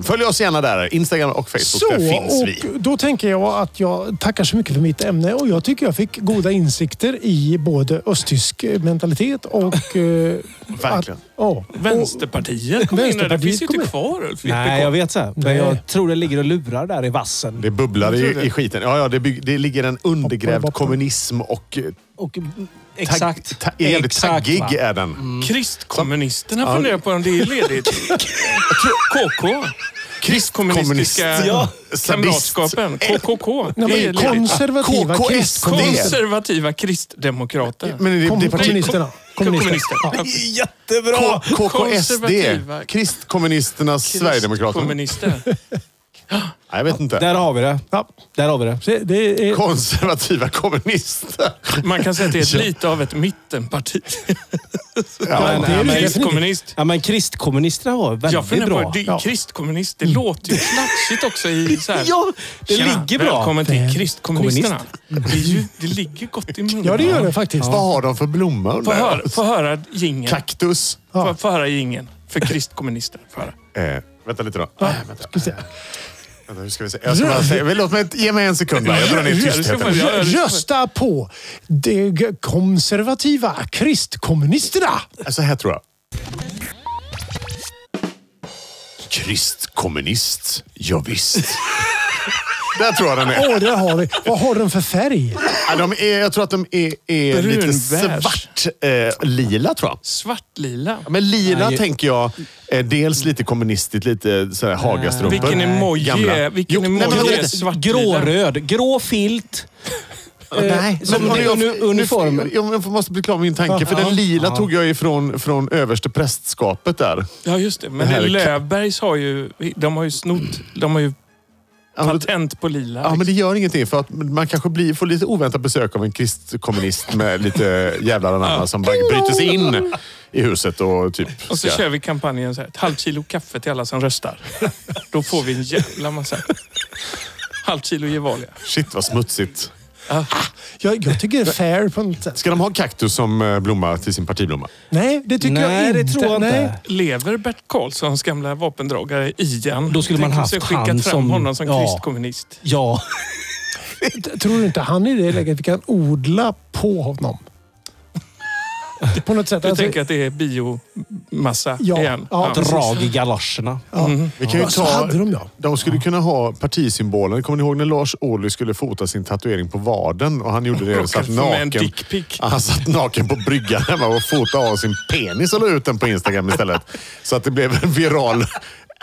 Speaker 1: Följ oss gärna där. Instagram och Facebook.
Speaker 4: så,
Speaker 1: där finns vi.
Speaker 4: och då tänker jag att jag tackar så mycket för mitt ämne och jag tycker jag fick goda insikter i både östtysk mentalitet och... eh,
Speaker 1: Verkligen.
Speaker 4: Att, ja.
Speaker 3: Vänsterpartiet kom in där. Det
Speaker 4: Vänsterpartiet
Speaker 3: finns ju
Speaker 4: kom
Speaker 3: inte
Speaker 4: in.
Speaker 3: kvar Ulf.
Speaker 2: Nej, jag vet så. här. Men
Speaker 4: Nej.
Speaker 2: jag tror det ligger och lurar där i vassen.
Speaker 1: Det bubblar
Speaker 4: Jag tror
Speaker 1: i,
Speaker 4: det.
Speaker 1: i skiten. Ja, ja, det, bygg, det ligger en undergrävd
Speaker 4: Hoppar, hoppar.
Speaker 1: kommunism och... eh, tagg-
Speaker 2: Och, exakt.
Speaker 1: Ta, är jävligt
Speaker 2: Exakt,
Speaker 1: taggig
Speaker 2: va?
Speaker 1: är den.
Speaker 3: Mm. Kristkommunisterna funderar på om det är [LAUGHS] ledigt. KK. Kristkommunistiska
Speaker 1: Ja.
Speaker 3: kamratskapen. KKK. Det
Speaker 4: Nej, men
Speaker 3: är ledigt.
Speaker 4: konservativa
Speaker 1: KKSD.
Speaker 4: kristkommunister.
Speaker 3: Konservativa kristdemokrater.
Speaker 1: Men det, det är parti...
Speaker 4: Kommunisterna.
Speaker 3: Kommunister.
Speaker 4: Ja.
Speaker 2: Jättebra!
Speaker 1: K- KKSD.
Speaker 3: Konservativa-
Speaker 1: Kristkommunisternas Sverigedemokrater.
Speaker 3: Kommunister.
Speaker 1: Nej, jag vet inte.
Speaker 2: Där har vi det.
Speaker 4: Ja,
Speaker 2: Där har vi det.
Speaker 4: så det är,
Speaker 1: Konservativa kommunister.
Speaker 3: Man kan säga att det är lite av ett mittenparti.
Speaker 1: Ja,
Speaker 2: nej, men-
Speaker 3: Kristkommunist.
Speaker 2: Ja, men kristkommunisterna var
Speaker 3: Jag
Speaker 2: väldigt
Speaker 3: funderar
Speaker 2: bra.
Speaker 3: på, det, kristkommunist, det låter ju klatschigt också i så här...
Speaker 2: Ja, det
Speaker 3: Tjena,
Speaker 2: ligger bra.
Speaker 3: Välkommen till kristkommunisterna.
Speaker 2: Kommunist.
Speaker 3: Det, är ju, det ligger gott i munnen.
Speaker 4: ja, det gör det faktiskt.
Speaker 1: Vad har de för blomma
Speaker 3: Få
Speaker 1: undrar
Speaker 3: höra,
Speaker 1: jag?
Speaker 3: få höra jingeln.
Speaker 1: Kaktus.
Speaker 3: Få, få höra jingeln. För kristkommunister. Få höra.
Speaker 1: Eh, vänta lite då. Nej, vänta. Eh, vänta, hur ska vi se? Jag ska bara säga. väl, Låt mig, inte- ge mig en sekund bara. Jag drar ner tystheten.
Speaker 3: Ja, det-
Speaker 4: Rösta på de g- konservativa kristkommunisterna.
Speaker 1: Så här tror jag. Kristkommunist? Ja, visst. Där tror jag den är.
Speaker 4: Åh, där har vi. Vad har den för färg?
Speaker 1: Ja, de är jag tror att de är, är lite
Speaker 3: Brunbärs.
Speaker 1: svart, eh, lila tror jag.
Speaker 3: Svartlila.
Speaker 1: Ja, Men lila
Speaker 2: Nej.
Speaker 1: tänker jag, eh, dels lite kommunistiskt, lite sådär Hagastrumpor.
Speaker 3: Vilken emoji
Speaker 1: Eh, Gamla.
Speaker 3: är, vilken
Speaker 1: Jo, nej, men
Speaker 3: emoji
Speaker 1: vänta
Speaker 3: är
Speaker 1: lite.
Speaker 3: svartlila?
Speaker 2: Gråröd. Grå filt. Eh,
Speaker 1: Nej,
Speaker 2: som
Speaker 1: men
Speaker 2: det-
Speaker 1: jag-
Speaker 2: unu- uniformen.
Speaker 1: Jag, jag måste bli klar med min tanke, för
Speaker 2: Ja.
Speaker 1: den lila
Speaker 2: Ja.
Speaker 1: tog jag ifrån från överste prästskapet där.
Speaker 3: Ja, just det. Men
Speaker 1: Det här
Speaker 3: det
Speaker 1: är-
Speaker 3: Löfbergs har ju... De har ju snott... De har ju
Speaker 1: Ja, men-
Speaker 3: patent på lila.
Speaker 1: Ja, men det gör ingenting för att man kanske blir, får lite oväntat besök av en kristkommunist med lite jävlar anamma som bara bryter sig in i huset och typ...
Speaker 3: Och så
Speaker 1: ska-
Speaker 3: kör vi kampanjen så här. Ett halvt kilo kaffe till alla som röstar. Då får vi en jävla massa. Halvt kilo Gevalia.
Speaker 1: Shit vad smutsigt.
Speaker 4: Jag, jag tycker det är fair på något sätt.
Speaker 1: Ska de ha kaktus som eh, blomma till sin partiblomma?
Speaker 4: Nej, det tycker
Speaker 2: Nej,
Speaker 4: jag inte.
Speaker 2: det tror jag
Speaker 4: Nej.
Speaker 2: inte.
Speaker 3: Lever Bert Karlssons gamla vapendragare igen?
Speaker 2: Då skulle man
Speaker 3: Tänk om
Speaker 2: haft
Speaker 3: så skickat
Speaker 2: han
Speaker 3: fram
Speaker 2: som-
Speaker 3: honom som
Speaker 2: ja.
Speaker 3: kristkommunist.
Speaker 2: Ja.
Speaker 4: T- Tror du inte han i det läget vi kan odla på honom? På något sätt.
Speaker 3: Du
Speaker 4: alltså-
Speaker 3: tänker att det är biomassa
Speaker 4: Ja,
Speaker 3: igen?
Speaker 4: ja, precis.
Speaker 2: Drag i galoscherna.
Speaker 4: ja.
Speaker 1: Vi kan ju
Speaker 4: Ja, så
Speaker 1: ta,
Speaker 4: hade de, ja.
Speaker 1: de skulle kunna ha partisymbolen. Kommer ni ihåg när Lars Ohly skulle fota sin tatuering på vaden och han gjorde det och satt
Speaker 3: få med en
Speaker 1: naken.
Speaker 3: dickpic.
Speaker 1: Ja, Han satt naken på bryggan hemma och fotade av sin penis och la ut den på Instagram istället. Så att det blev en viral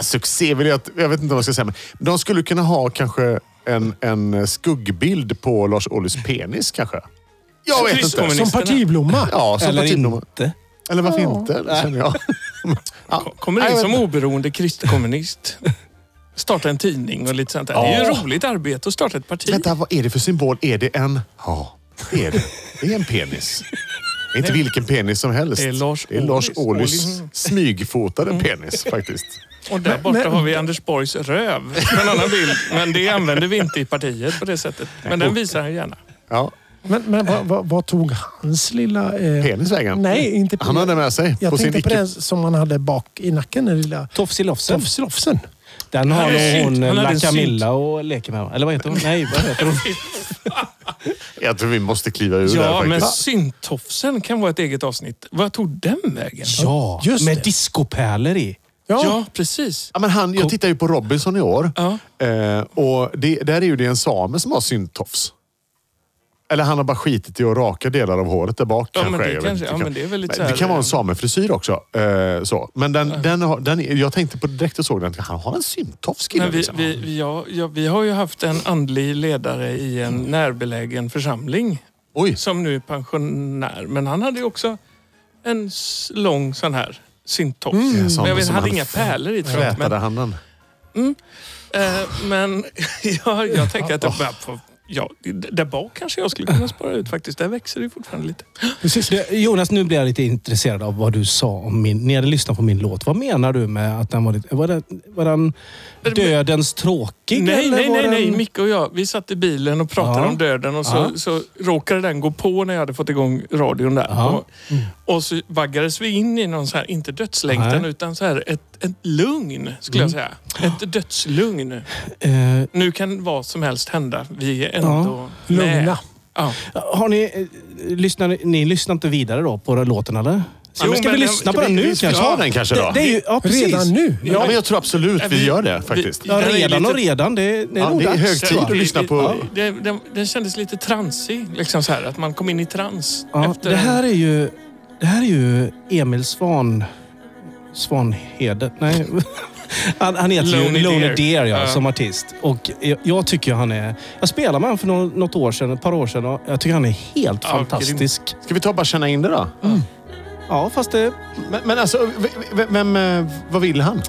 Speaker 1: succé. Vill jag, jag vet inte vad jag ska säga. Men de skulle kunna ha kanske en, en skuggbild på Lars Ohlys penis kanske. Jag vet inte.
Speaker 3: Kristkommunist.
Speaker 4: Som partiblomma.
Speaker 1: Ja, som
Speaker 2: Eller
Speaker 1: partiblomma.
Speaker 2: inte.
Speaker 1: Eller varför inte? Det känner jag. Ja.
Speaker 3: Kommer
Speaker 1: Nej,
Speaker 3: in
Speaker 1: jag
Speaker 3: som
Speaker 1: vet
Speaker 3: oberoende kristkommunist. Starta en tidning och lite sånt där. Det är ju roligt arbete att starta ett parti.
Speaker 1: Vänta, vad är det för symbol? Är det en... Ja, det är det. Det är en penis. Det är Inte vilken penis som helst.
Speaker 3: Det är Lars
Speaker 1: det är Lars
Speaker 3: Ohlys.
Speaker 1: Ohlys smygfotade penis faktiskt.
Speaker 3: Och där borta
Speaker 4: men-
Speaker 3: har vi Anders Borgs röv. på En annan bild. Men det använder vi inte i partiet på det sättet. Men den visar han gärna.
Speaker 1: Ja,
Speaker 4: Men, men vad, vad, vad tog hans lilla... Eh...
Speaker 1: penis vägen.
Speaker 4: Nej, inte
Speaker 1: Han hade med sig
Speaker 4: Jag
Speaker 1: på sin
Speaker 4: tänkte på
Speaker 1: icke...
Speaker 4: den som han hade bak i nacken, den lilla
Speaker 2: Tofsilofsen.
Speaker 4: tofslofsen.
Speaker 2: Den har
Speaker 3: Han är
Speaker 2: nog hon
Speaker 3: synt. Han
Speaker 2: eh,
Speaker 3: hade
Speaker 2: La
Speaker 3: en synt.
Speaker 2: Camilla och leker med. va? Eller vad heter hon? Nej, vad heter
Speaker 3: [LAUGHS]
Speaker 2: hon?
Speaker 1: Jag tror vi måste kliva ur där
Speaker 3: Ja, men
Speaker 1: faktiskt.
Speaker 3: syntofsen kan vara ett eget avsnitt. Vad tog den vägen?
Speaker 2: Ja,
Speaker 4: Just
Speaker 2: med
Speaker 4: det.
Speaker 2: discopärlor i.
Speaker 3: Ja, precis.
Speaker 1: Ja, men han, jag tittar ju på Robinson i år.
Speaker 3: Ja.
Speaker 1: Eh, och det, där är ju det en same som har syntofs. Eller han har bara skitit i att raka delar av håret där bak.
Speaker 3: Ja, men
Speaker 1: kanske.
Speaker 3: det
Speaker 1: Jag vet
Speaker 3: kanske-
Speaker 1: inte.
Speaker 3: ja, men det är väl lite så
Speaker 1: det
Speaker 3: här-
Speaker 1: kan vara en samefrisyr också. Eh, så. Men den, den, har- den, är- jag tänkte på det direkt och såg den. att Han har en syntofs
Speaker 3: Men
Speaker 1: killen.
Speaker 3: vi,
Speaker 1: liksom.
Speaker 3: vi, vi, ja, ja, vi har ju haft en andlig ledare i en närbelägen församling
Speaker 1: Oj,
Speaker 3: som nu är pensionär. Men han hade ju också en s- lång sån här syntofs.
Speaker 2: Mm.
Speaker 1: Sån
Speaker 3: Men jag vet,
Speaker 1: som
Speaker 3: han hade
Speaker 1: han
Speaker 3: inga pärlor i tror jag. Men
Speaker 1: flätade han den?
Speaker 3: Eh, men [LAUGHS] jag, jag tänker att det bara får, ja, där bak kanske jag skulle kunna spara ut faktiskt. Där växer det ju fortfarande lite.
Speaker 2: Det- Jonas, nu blir jag lite intresserad av vad du sa om min... Ni hade lyssnat på min låt. Vad menar du med att den var lite... Var den, var den dödens tråkig?
Speaker 3: Nej,
Speaker 2: eller
Speaker 3: nej,
Speaker 2: var
Speaker 3: nej, nej.
Speaker 2: Den...
Speaker 3: Micke och jag, vi satt i bilen och pratade
Speaker 2: Ja.
Speaker 3: om döden och så,
Speaker 2: Ja.
Speaker 3: så råkade den gå på när jag hade fått igång radion där.
Speaker 2: Ja. Mm.
Speaker 3: Och, och så vaggades vi in i någon så här, inte dödslängtan,
Speaker 2: Nej. Mm.
Speaker 3: utan så här ett, ett lugn skulle jag säga. Ett dödslugn.
Speaker 2: Eh,
Speaker 3: Nu kan vad som helst hända. Vi är ändå med.
Speaker 4: Lugna.
Speaker 3: Ja.
Speaker 2: har ni... Eh, lyssnar, ni lyssnar inte vidare då på den låten, eller?
Speaker 3: Jo,
Speaker 2: men ska vi
Speaker 3: men den-
Speaker 2: lyssna
Speaker 3: ska
Speaker 2: på den
Speaker 3: vi-
Speaker 2: nu
Speaker 1: Ska vi
Speaker 2: kanske?
Speaker 1: ta den kanske då?
Speaker 2: Det, det är ju, ja, precis.
Speaker 4: Redan nu?
Speaker 1: ja, men jag tror absolut vi,
Speaker 3: Vi-
Speaker 1: gör det
Speaker 3: vi-
Speaker 1: faktiskt.
Speaker 2: Ja,
Speaker 3: Den är ju
Speaker 2: redan och
Speaker 3: lite-
Speaker 2: redan. Det, det är
Speaker 1: Ja,
Speaker 2: nog
Speaker 1: det är
Speaker 2: dags,
Speaker 1: hög tid
Speaker 2: tror jag.
Speaker 1: att lyssna på-
Speaker 3: Ja. Det, den, den kändes lite transig, liksom så här, att man kom in i trans.
Speaker 2: Ja,
Speaker 3: efter
Speaker 2: det här är ju... Det här är ju Emil Svan... Svanhede? Nej. [LAUGHS] Han, han heter
Speaker 3: Lonely
Speaker 2: ju Lonely
Speaker 3: Deer.
Speaker 2: Deer, ja,
Speaker 3: Ja.
Speaker 2: som artist. Och jag, jag tycker han är... Jag spelade med honom för nå- något år sedan, ett par år sedan. Och jag tycker han är helt
Speaker 3: Ja,
Speaker 2: fantastisk.
Speaker 1: Ska vi ta och bara känna in det då?
Speaker 2: Ja, fast det...
Speaker 1: Men, men alltså, v- v- vem, eh, vad vill han?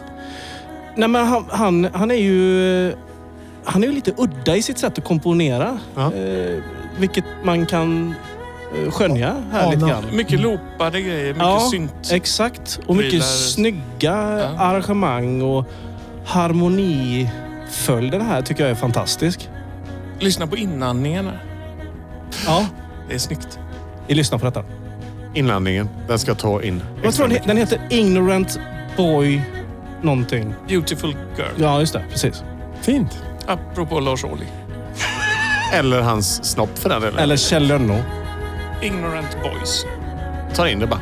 Speaker 2: Nej, men han, han, han är ju... Han är ju lite udda i sitt sätt att komponera.
Speaker 1: Ja.
Speaker 2: Eh, vilket man kan eh, skönja här lite
Speaker 4: Ana.
Speaker 2: grann.
Speaker 3: Mycket loopade grejer, mycket
Speaker 2: Ja,
Speaker 3: synt.
Speaker 2: Exakt. Och mycket
Speaker 3: Prylar.
Speaker 2: snygga
Speaker 3: Ja.
Speaker 2: arrangemang och harmoniföljden här tycker jag är fantastisk.
Speaker 3: Lyssna på inandningarna.
Speaker 2: Ja.
Speaker 3: Det är snyggt.
Speaker 2: Vi lyssnar på detta.
Speaker 1: Inlandningen. Den ska ta in.
Speaker 2: Vad tror
Speaker 1: extra
Speaker 2: den, he-
Speaker 1: mycket.
Speaker 2: den heter? Ignorant Boy någonting.
Speaker 3: Beautiful girl.
Speaker 2: Ja, just det. Precis.
Speaker 4: Fint.
Speaker 3: Apropå Lars Ohly.
Speaker 1: Eller hans snopp för den delen.
Speaker 2: Eller Kjell Lönnå.
Speaker 3: Ignorant boys.
Speaker 1: Ta in det bara.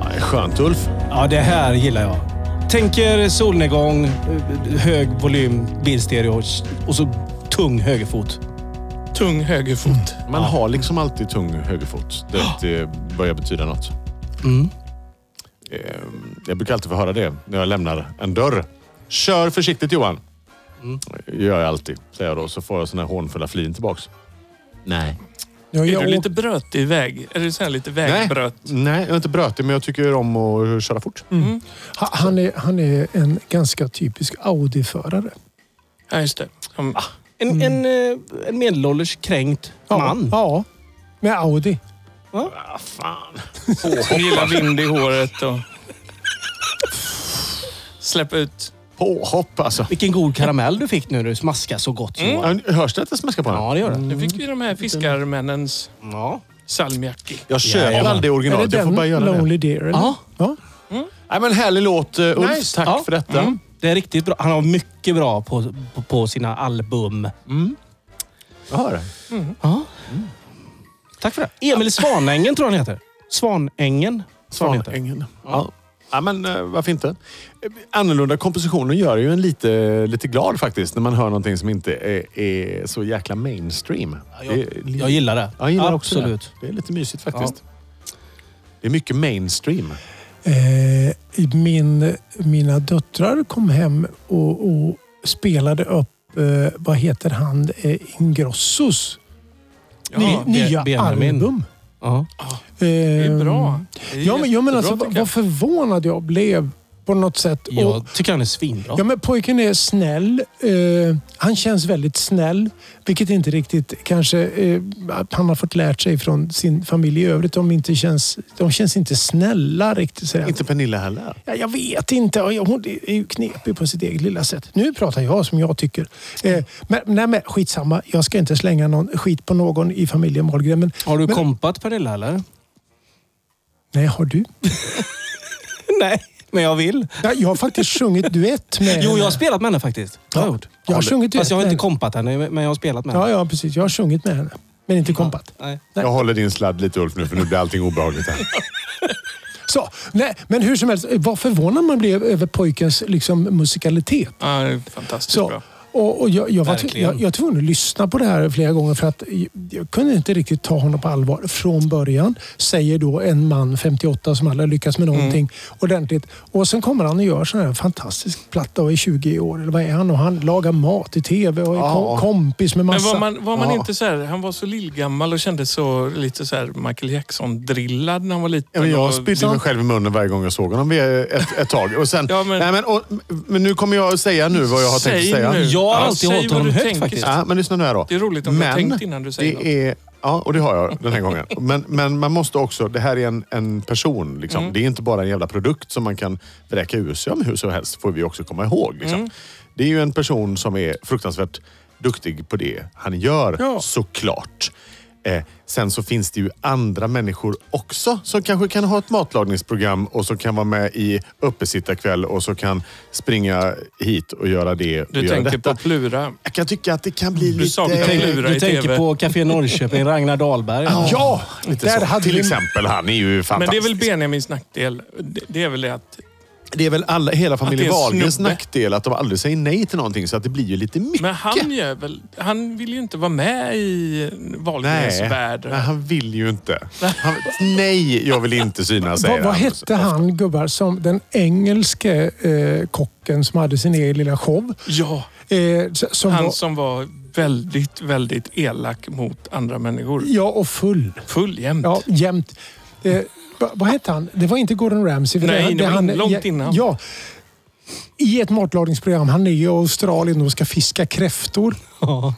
Speaker 1: Ja, det är skönt Ulf.
Speaker 2: Ja, det här gillar jag. Tänker solnedgång, eh, hög volym, bilstereo och så tung högerfot.
Speaker 3: Tung högerfot.
Speaker 2: Mm.
Speaker 1: Man har liksom alltid tung högerfot. Det, det börjar betyda något. Eh, Jag brukar alltid få höra det när jag lämnar en dörr. Kör försiktigt Johan! gör jag alltid, säger jag då. Så får jag såna här hånfulla flin tillbaks. Nej.
Speaker 4: Ja,
Speaker 3: Är
Speaker 4: jag
Speaker 3: du
Speaker 4: åk-
Speaker 3: lite brötig väg? Är du så här lite
Speaker 1: Nej.
Speaker 3: vägbröt?
Speaker 1: Nej, jag är inte brötig, men jag tycker om att köra fort.
Speaker 4: ha- han, är, han är en ganska typisk Audi-förare.
Speaker 3: Ja, just det. Som,
Speaker 2: En,
Speaker 3: Mm.
Speaker 2: en, eh, en medelålders kränkt
Speaker 4: Ja,
Speaker 2: man.
Speaker 4: Ja. Med Audi.
Speaker 1: Ah, fan.
Speaker 3: som gillar vind i håret och... Släppa ut.
Speaker 1: Påhopp alltså.
Speaker 2: Vilken god karamell du fick nu du smaskade så gott.
Speaker 3: Mm.
Speaker 2: Johan.
Speaker 1: Ja, Hörs det att jag smaskar på den?
Speaker 2: Ja, det gör det.
Speaker 3: Nu fick vi de här fiskarmännens
Speaker 2: Ja.
Speaker 3: salmiakki.
Speaker 1: Jag köper
Speaker 2: Jajamän.
Speaker 1: aldrig
Speaker 4: är
Speaker 1: originalet.
Speaker 4: det
Speaker 1: Jag får bara göra det.
Speaker 4: Lonely Deer? Eller?
Speaker 2: ja,
Speaker 4: Ja.
Speaker 1: Nej, men härlig låt eh, Ulf.
Speaker 4: Nice.
Speaker 1: Tack
Speaker 2: Ja. Mm.
Speaker 1: för detta.
Speaker 2: det är riktigt bra. Han har mycket bra på, på, på sina album.
Speaker 1: Jag hör det.
Speaker 2: Tack för det. Emil Svanängen tror jag han heter. Svanängen. tror jag han heter.
Speaker 1: Svanängen. Ja. Ja, men eh, varför inte? Eh, Annorlunda kompositioner gör ju en lite, lite glad faktiskt när man hör någonting som inte är, är så jäkla mainstream.
Speaker 2: jag-
Speaker 1: Det är li-
Speaker 2: Jag gillar det.
Speaker 1: jag gillar också
Speaker 2: Absolut.
Speaker 1: det. Det är lite mysigt faktiskt. Det är mycket mainstream.
Speaker 4: Eh, min, mina döttrar kom hem och, och spelade upp, eh, vad heter han, eh, Ingrossos
Speaker 3: Ja,
Speaker 4: ny,
Speaker 2: Be-
Speaker 4: nya
Speaker 2: Benjamin.
Speaker 4: album.
Speaker 2: Ja.
Speaker 4: det
Speaker 1: Mm.
Speaker 3: är bra. Det är
Speaker 4: Ja, men, ja, men
Speaker 1: jättebra,
Speaker 4: alltså, vad
Speaker 1: tycker jag.
Speaker 4: vad förvånad jag blev på något sätt. Och,
Speaker 2: Jag tycker han är svinbra.
Speaker 4: ja, men pojken är snäll. Eh, han känns väldigt snäll, vilket inte riktigt kanske eh, att han har fått lärt sig från sin familj i övrigt. De, inte känns, de känns inte snälla riktigt. Sådär.
Speaker 1: Inte Pernilla heller.
Speaker 4: Ja, jag vet inte. Och jag- Hon är ju knepig på sitt eget lilla sätt. Nu pratar jag som jag tycker. Eh, men, nej, men skitsamma. Jag ska inte slänga någon skit på någon i familjen Wahlgren. Men,
Speaker 2: Har du
Speaker 4: men,
Speaker 2: kompat Pernilla eller?
Speaker 4: Nej, har du?
Speaker 2: Nej, men jag vill.
Speaker 4: Ja, jag har faktiskt sjungit duett med
Speaker 2: Eh. Jo,
Speaker 4: henne.
Speaker 2: jag har spelat med henne faktiskt. Jag har gjort.
Speaker 4: Jag har sjungit duett
Speaker 2: Fast jag har
Speaker 4: med
Speaker 2: inte
Speaker 4: henne.
Speaker 2: kompat henne, men jag har spelat med henne.
Speaker 4: Ja, ja, precis. Jag har sjungit med henne. Men inte kompat.
Speaker 2: Nej.
Speaker 1: Jag håller din sladd lite Ulf nu för nu blir allting obehagligt här.
Speaker 4: Så, nej, men hur som helst, eh, vad förvånad man blev över pojkens liksom, musikalitet.
Speaker 3: Ja, det är fantastiskt
Speaker 4: Så,
Speaker 3: bra.
Speaker 4: och, och jag, jag, var tv-
Speaker 2: Verkligen.
Speaker 4: jag, jag var tvungen att lyssna på det här flera gånger för att jag, jag kunde inte riktigt ta honom på allvar från början. Säger då en man, 58, som aldrig har lyckats
Speaker 3: Mm.
Speaker 4: med någonting ordentligt. Och sen kommer han och gör sån här fantastisk platta och är 20 år, eller vad är han? Och han lagar mat i tv och är
Speaker 1: Ja.
Speaker 4: kom- kompis med
Speaker 3: Men
Speaker 4: massa...
Speaker 3: var man, var man
Speaker 1: Ja.
Speaker 3: inte så här, han var så lillgammal och kände så lite så här Michael Jackson-drillad när han var liten.
Speaker 1: Ja, men
Speaker 3: och-
Speaker 1: jag spydde mig själv i munnen varje gång jag såg honom vid ett, ett tag. Och sen,
Speaker 3: Ja, men-
Speaker 1: nej, men, och, men nu kommer jag att säga nu vad jag har tänkt
Speaker 3: Säg
Speaker 1: säga.
Speaker 3: nu.
Speaker 2: Jag har
Speaker 3: Ja,
Speaker 2: alltid
Speaker 3: säg
Speaker 2: hållit
Speaker 3: vad
Speaker 2: honom
Speaker 3: du
Speaker 2: högt
Speaker 3: tänker.
Speaker 2: faktiskt.
Speaker 1: Ja, men lyssna nu här då.
Speaker 3: Det är roligt om du har tänkt innan du säger något.
Speaker 1: det är, Ja, och det har jag den här gången. Men, men man måste också... Det här är en, en person. Liksom.
Speaker 3: Mm.
Speaker 1: Det är inte bara en jävla produkt som man kan vräka ur sig om hur som helst. får vi också komma ihåg. Liksom.
Speaker 3: Mm.
Speaker 1: Det är ju en person som är fruktansvärt duktig på det han gör,
Speaker 4: Ja.
Speaker 1: såklart. Eh, sen så finns det ju andra människor också som kanske kan ha ett matlagningsprogram och som kan vara med i uppesittarkväll och så kan springa hit och göra det. och
Speaker 3: Du
Speaker 1: göra
Speaker 3: tänker
Speaker 1: detta.
Speaker 3: på Plura.
Speaker 1: Jag kan tycka att det kan bli
Speaker 3: Du
Speaker 1: lite...
Speaker 3: saknar
Speaker 2: Tänk,
Speaker 3: Plura
Speaker 2: du
Speaker 3: i
Speaker 2: tänker
Speaker 3: TV.
Speaker 2: på Café Norrköping, Ragnar Dahlberg.
Speaker 1: Ja! Lite
Speaker 4: där
Speaker 1: så.
Speaker 4: hade
Speaker 1: Till
Speaker 4: vi-
Speaker 1: exempel, han är ju
Speaker 3: Men det är
Speaker 1: fantastisk.
Speaker 3: väl Benjamins nackdel. Det, det är väl det att...
Speaker 1: det är väl alla, hela familjen
Speaker 3: Att det är en
Speaker 1: Wahlgrens
Speaker 3: snubbe.
Speaker 1: nackdel att de aldrig säger nej till någonting så att det blir ju lite mycket.
Speaker 3: Men han gör väl... Han vill ju inte vara med i Wahlgrens
Speaker 1: Nej,
Speaker 3: värld.
Speaker 1: nej, han vill
Speaker 3: [LAUGHS]
Speaker 1: ju inte. Han, nej, jag vill inte synas, säger
Speaker 4: Vad, vad
Speaker 1: han.
Speaker 4: hette han gubbar som den engelske eh, kocken som hade sin egen lilla show?
Speaker 3: Ja,
Speaker 4: Eh, s- som var,
Speaker 3: han som var väldigt, väldigt elak mot andra människor.
Speaker 4: Ja, och full.
Speaker 3: Full jämt.
Speaker 4: Ja, jämt. Eh, va, vad hette han? Det var inte Gordon Ramsay. för
Speaker 3: Nej, det var
Speaker 4: han,
Speaker 3: in- långt innan.
Speaker 4: Ja. I ett matlagningsprogram. Han är i Australien och ska fiska kräftor.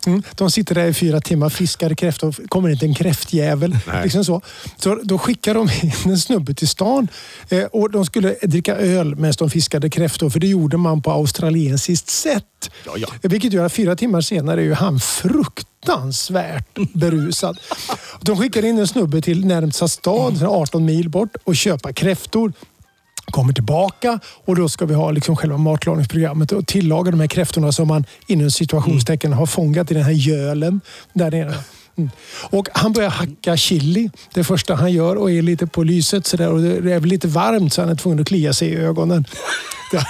Speaker 4: Mm. De sitter där i fyra timmar, fiskar kräftor. Kommer inte en kräftjävel.
Speaker 1: Nej.
Speaker 4: Liksom så. Så då skickar de in en snubbe till stan eh, och de skulle dricka öl medan de fiskade kräftor. För det gjorde man på australiensiskt sätt.
Speaker 1: Ja, ja.
Speaker 4: Vilket gör att fyra timmar senare är ju han fruktansvärt berusad. De skickar in en snubbe till närmsta stad,
Speaker 1: Mm.
Speaker 4: 18 mil bort, och köpa kräftor. Kommer tillbaka och då ska vi ha liksom själva matlagningsprogrammet och tillaga de här kräftorna som man inom situationstecken har fångat i den här gölen där nere. Mm. Och han börjar hacka chili, det första han gör, och är lite på lyset sådär. Och det är väl lite varmt så han är tvungen att klia sig i ögonen. [LAUGHS] Det-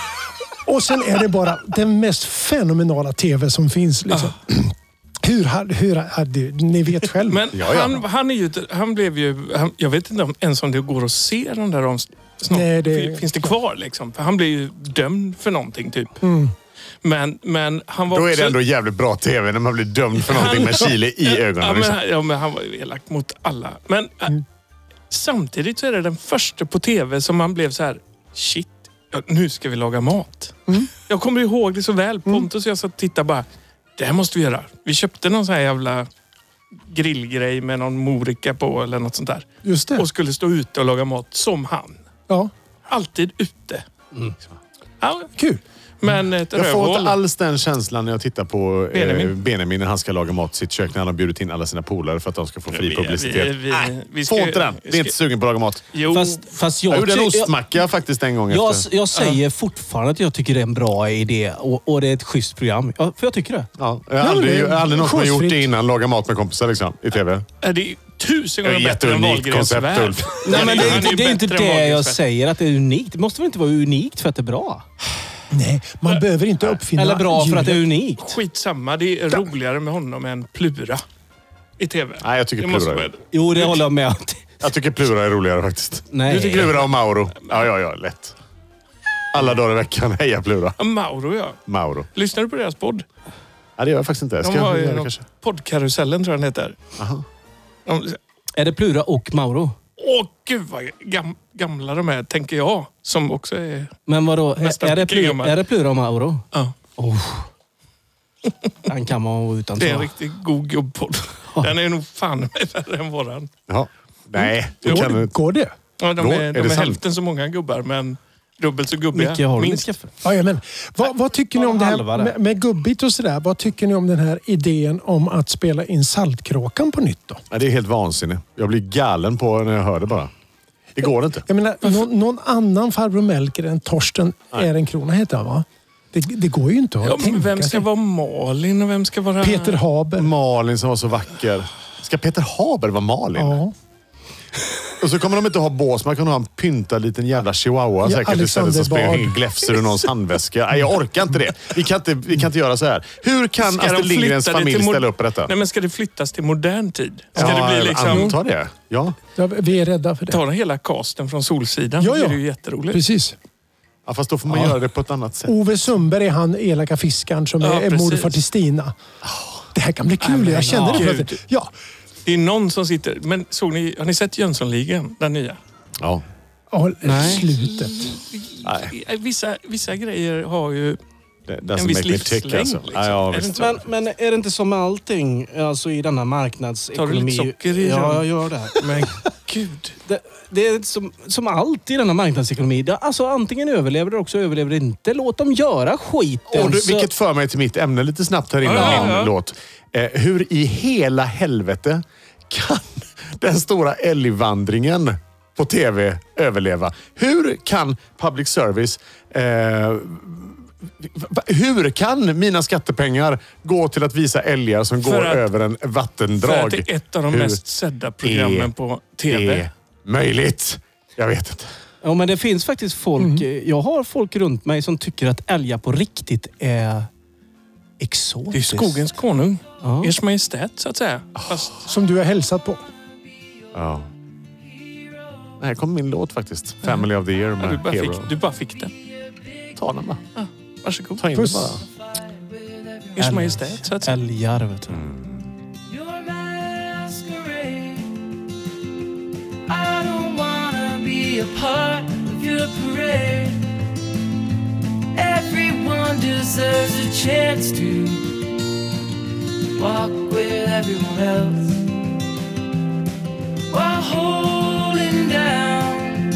Speaker 4: Och sen är det bara den mest fenomenala tv som finns. Liksom.
Speaker 2: Ah.
Speaker 4: [CLEARS THROAT] Hur, hade- hur, hade- ni vet själv.
Speaker 3: Men
Speaker 1: Ja, ja.
Speaker 3: Han, han, är ju, ett- han blev ju... Han, jag vet inte om, ens om det går att se den där om, snart.
Speaker 4: Nej, det-
Speaker 3: Finns det kvar liksom? För han blev ju dömd för någonting typ.
Speaker 4: Mm.
Speaker 3: Men, men han var
Speaker 1: Då är
Speaker 3: också...
Speaker 1: det ändå jävligt bra tv när man blir dömd för någonting med Chile i ögonen.
Speaker 3: Ja,
Speaker 1: liksom. Mm.
Speaker 3: men, ja, men han var ju elak mot alla. Men äh, samtidigt så är det den första på tv som man blev så här, shit, ja, nu ska vi laga mat.
Speaker 1: Mm.
Speaker 3: Jag kommer ihåg det så väl. Pontus och jag satt och tittade bara, det här måste vi göra. Vi köpte någon sån här jävla grillgrej med någon morika på eller något sånt där.
Speaker 4: Just det.
Speaker 3: Och skulle stå ute och laga mat som han.
Speaker 4: Ja,
Speaker 3: Alltid ute. Ja,
Speaker 4: kul.
Speaker 3: men ett
Speaker 1: Jag får
Speaker 3: rövhål.
Speaker 1: inte alls den känslan när jag tittar på Benjamin, eh,
Speaker 3: Benjamin.
Speaker 1: Benjamin när han ska laga mat i sitt kök när han har bjudit in alla sina polare för att de ska få fri
Speaker 3: Vi-
Speaker 1: publicitet.
Speaker 3: vi- vi-
Speaker 1: Nej,
Speaker 3: vi
Speaker 1: få
Speaker 3: ska-
Speaker 1: inte den. Vi är inte
Speaker 3: ska-
Speaker 1: sugen på att laga mat.
Speaker 3: Jo,
Speaker 2: Fast, fast jag,
Speaker 1: Jag gjorde en
Speaker 2: ty- jag,
Speaker 1: ostmacka faktiskt en gång
Speaker 2: jag,
Speaker 1: efter.
Speaker 2: jag säger fortfarande att jag tycker det är en bra idé och, och det är ett schysst program. Ja, för jag tycker det.
Speaker 1: Ja, jag
Speaker 4: Ja, men
Speaker 1: har aldrig,
Speaker 4: det är
Speaker 1: jag har aldrig någon som har gjort
Speaker 4: skjutsfritt.
Speaker 1: det innan. Laga mat med kompisar liksom, i TV.
Speaker 3: är det är tusen
Speaker 1: Det är
Speaker 3: gånger
Speaker 1: ett
Speaker 3: bättre än
Speaker 1: jätteunikt
Speaker 3: Wahlgrens
Speaker 1: koncept,
Speaker 3: värld.
Speaker 1: Ulf.
Speaker 2: Nej, men det är
Speaker 3: Han
Speaker 2: inte
Speaker 3: ju
Speaker 2: det, är inte
Speaker 3: bättre än
Speaker 2: det jag
Speaker 3: Wahlgrens värld.
Speaker 2: säger, att det är unikt. Det måste väl inte vara unikt för att det är bra?
Speaker 4: Nej, man behöver inte uppfinna
Speaker 2: Eller bra för att det är unikt?
Speaker 3: Skitsamma, det är roligare med honom än Plura i TV.
Speaker 1: Nej, jag tycker
Speaker 3: Det måste
Speaker 1: Plura är-
Speaker 3: vara-
Speaker 2: Jo, det håller jag med om. [LAUGHS]
Speaker 1: Jag tycker Plura är roligare faktiskt.
Speaker 2: Nej.
Speaker 1: Du tycker Plura och Mauro. Ja, ja, ja. Lätt. Alla dagar i veckan. [LAUGHS] Heja Plura.
Speaker 3: Ja, Mauro ja.
Speaker 1: Mauro.
Speaker 3: Lyssnar du på deras podd?
Speaker 1: Ja, det gör jag faktiskt inte. Ska
Speaker 3: De har
Speaker 1: jag
Speaker 3: ju
Speaker 1: göra det
Speaker 3: någon-
Speaker 1: kanske?
Speaker 3: Poddkarusellen tror jag den heter. De,
Speaker 2: Är det Plura och Mauro?
Speaker 3: Åh gud vad gam, gamla de är, tänker jag. Som också är...
Speaker 2: Men vadå, är,
Speaker 3: Nästan
Speaker 2: är, det
Speaker 3: gammal.
Speaker 2: Plu- är det Plura Mauro?
Speaker 3: Ja,
Speaker 2: Den kan man vara utan
Speaker 3: det är en
Speaker 2: tror jag.
Speaker 3: riktigt god gubbpodd. Den är nog fan mig värre än våran.
Speaker 1: Ja. Nej, det
Speaker 3: Jo,
Speaker 1: kan du
Speaker 4: Går,
Speaker 1: inte.
Speaker 4: går det?
Speaker 3: Ja, de
Speaker 1: Då
Speaker 3: är,
Speaker 1: är
Speaker 3: de
Speaker 1: det
Speaker 3: är
Speaker 1: sant.
Speaker 3: hälften så många gubbar, men dubbelt så gubbiga.
Speaker 2: Micke har
Speaker 3: minst.
Speaker 2: minst. Kaffe.
Speaker 4: Ja, ja, men, vad, vad tycker ni om det
Speaker 2: Halva
Speaker 4: här
Speaker 2: det.
Speaker 4: med, med gubbigt och sådär? Vad tycker ni om den här idén om att spela in Saltkråkan på nytt då?
Speaker 1: Nej, det är helt vansinnigt. Jag blir galen på när jag hör det bara. Det går inte.
Speaker 4: Jag menar, någon, någon annan farbror Melker än Torsten Ehrencrona heter han va? Det, det går ju inte att
Speaker 3: Ja, men
Speaker 4: tänka
Speaker 3: vem ska
Speaker 4: sig.
Speaker 3: vara Malin och vem ska vara...
Speaker 4: Peter Haber.
Speaker 1: Malin som var så vacker. Ska Peter Haber vara Malin?
Speaker 4: Ja.
Speaker 1: Och så kommer de inte ha bås. Man kan ha en pyntad liten jävla chihuahua
Speaker 4: Ja,
Speaker 1: säkert istället som
Speaker 4: Alexander
Speaker 1: springer
Speaker 4: Bard.
Speaker 1: in och gläfser ur någons handväska. Nej, jag orkar inte det. Vi kan inte, vi kan inte göra så här. Hur kan
Speaker 3: Ska
Speaker 1: Astrid
Speaker 3: de flytta
Speaker 1: alltså Lindgrens
Speaker 3: det
Speaker 1: familj
Speaker 3: till mod-
Speaker 1: ställa upp på detta?
Speaker 3: Nej, men ska det flyttas till modern tid? Ska
Speaker 1: ja,
Speaker 3: det bli liksom...
Speaker 1: Anta det. Ja.
Speaker 4: Ja, vi är rädda för det.
Speaker 3: Ta den hela casten från Solsidan.
Speaker 4: Ja,
Speaker 3: Det
Speaker 4: ja.
Speaker 3: är ju jätteroligt.
Speaker 4: Precis.
Speaker 1: ja, fast då får man göra det på ett annat sätt.
Speaker 4: Ove Sundberg är han elaka fiskaren som
Speaker 3: Ja,
Speaker 4: är
Speaker 3: precis. Ah.
Speaker 4: morfar till Stina. Det här kan bli kul.
Speaker 3: men
Speaker 4: jag känner det
Speaker 3: gud.
Speaker 4: plötsligt. Ja.
Speaker 3: Det är någon som sitter... Men såg ni, har ni sett Jönssonligan? Den nya?
Speaker 1: Ja.
Speaker 4: ja,
Speaker 2: Nej.
Speaker 4: slutet.
Speaker 1: Nej.
Speaker 3: Eh, Vissa, vissa grejer har ju...
Speaker 1: Det, det
Speaker 3: En
Speaker 1: som
Speaker 3: viss
Speaker 1: make me tick,
Speaker 3: livslängd,
Speaker 1: alltså.
Speaker 3: liksom.
Speaker 1: ja, ja,
Speaker 3: Är det
Speaker 1: visst.
Speaker 3: inte
Speaker 2: Men, men är det inte som med allting alltså i denna marknadsekonomi?
Speaker 3: Tar du lite socker i den?
Speaker 2: Ja, jag gör det.
Speaker 1: [LAUGHS]
Speaker 3: Men gud.
Speaker 2: Det, det är som, som allt i denna marknadsekonomi. Det, alltså antingen överlever det också överlever det inte. Låt dem göra skiten.
Speaker 1: Och du,
Speaker 2: så-
Speaker 1: vilket för mig till mitt ämne lite snabbt här innan
Speaker 3: Ja, ja,
Speaker 1: min
Speaker 3: ja.
Speaker 1: låt. Eh, hur i hela helvete kan [LAUGHS] den stora älgvandringen på tv överleva? Hur kan public service... Eh, va- hur kan mina skattepengar gå till att visa älgar som
Speaker 3: För
Speaker 1: går
Speaker 3: att-
Speaker 1: över en
Speaker 3: För att
Speaker 1: vattendrag?
Speaker 3: det är ett av de
Speaker 1: Hur
Speaker 3: mest sedda
Speaker 1: E
Speaker 3: programmen på
Speaker 1: Det
Speaker 3: tv.
Speaker 1: är möjligt? Jag vet inte.
Speaker 2: Ja, men det finns faktiskt folk. Jag har folk runt mig som tycker att älgar på riktigt är exotiskt.
Speaker 3: Det är skogens konung.
Speaker 2: Ja.
Speaker 3: Ers Majestät, så att säga. Fast
Speaker 4: Som du har hälsat på.
Speaker 1: Ja. Här kommer min låt faktiskt. Family of the year
Speaker 3: ja, du,
Speaker 1: med
Speaker 3: bara
Speaker 1: Ah, Hero.
Speaker 3: fick, du bara fick den.
Speaker 1: Ta den bara.
Speaker 3: Varsågod.
Speaker 1: Ta in
Speaker 4: Puss.
Speaker 1: den bara.
Speaker 3: Ers Majestät, så att säga.
Speaker 2: Älgar, vet du.
Speaker 8: Your masquerade. I don't wanna be a part of your parade. Everyone deserves a chance to walk with everyone else while holding down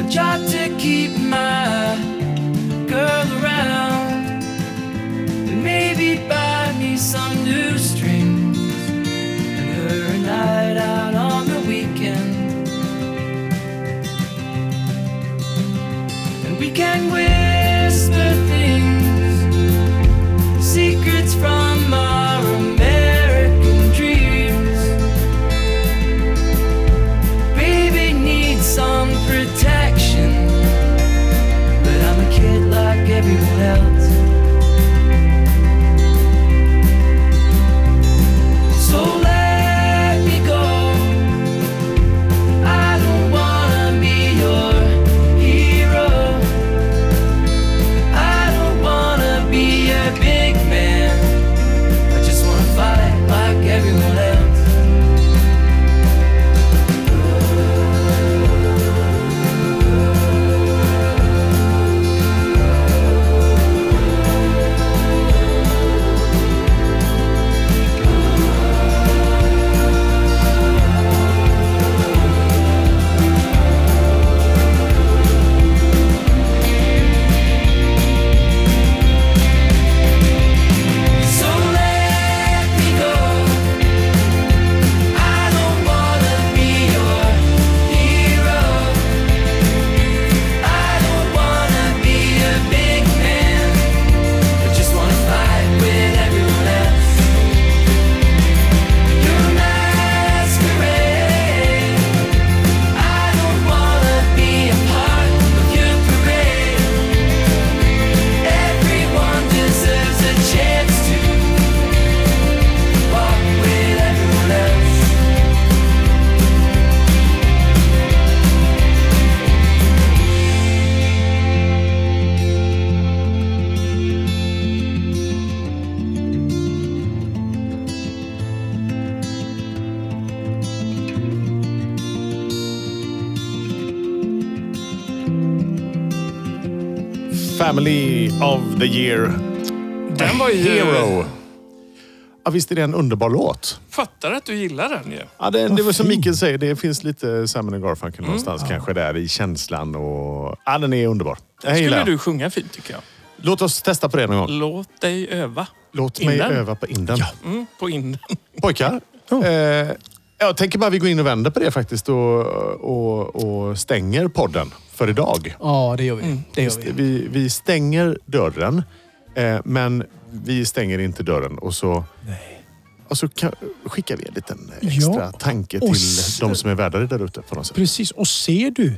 Speaker 8: a job to keep my girl around and maybe buy me some new strings and her a night out on the weekend. And we can whisper things, secrets from our American dreams. Baby needs some protection, but I'm a kid like everyone else. So let me go. I don't wanna be your hero.
Speaker 1: Family of the Year.
Speaker 3: Den var ju...
Speaker 1: Hero. Ja, visst är det en underbar låt?
Speaker 3: Fattar att du gillar den ju.
Speaker 1: Ja, det, det var som Mikael säger, det finns lite Simon and Garfunkel någonstans kanske där i känslan. Och, ja, den är underbar. Jag gillar
Speaker 3: Skulle
Speaker 1: den.
Speaker 3: du sjunga fint tycker jag.
Speaker 1: Låt oss testa på det någon gång.
Speaker 3: Låt dig öva.
Speaker 1: Låt mig
Speaker 3: Inden.
Speaker 1: öva på inden.
Speaker 3: Mm, på inden.
Speaker 1: Pojkar, eh, jag tänker bara vi går in och vänder på det faktiskt och, och, och stänger podden för idag.
Speaker 2: Ja, det gör vi.
Speaker 4: Mm.
Speaker 2: Det gör vi.
Speaker 1: Vi, vi stänger dörren, eh, men vi stänger inte dörren. Och så, Och så kan, skickar vi en liten extra
Speaker 4: Ja,
Speaker 1: tanke
Speaker 4: och
Speaker 1: till
Speaker 4: s-
Speaker 1: de som är värdare där ute på något sätt.
Speaker 4: Precis. Och ser du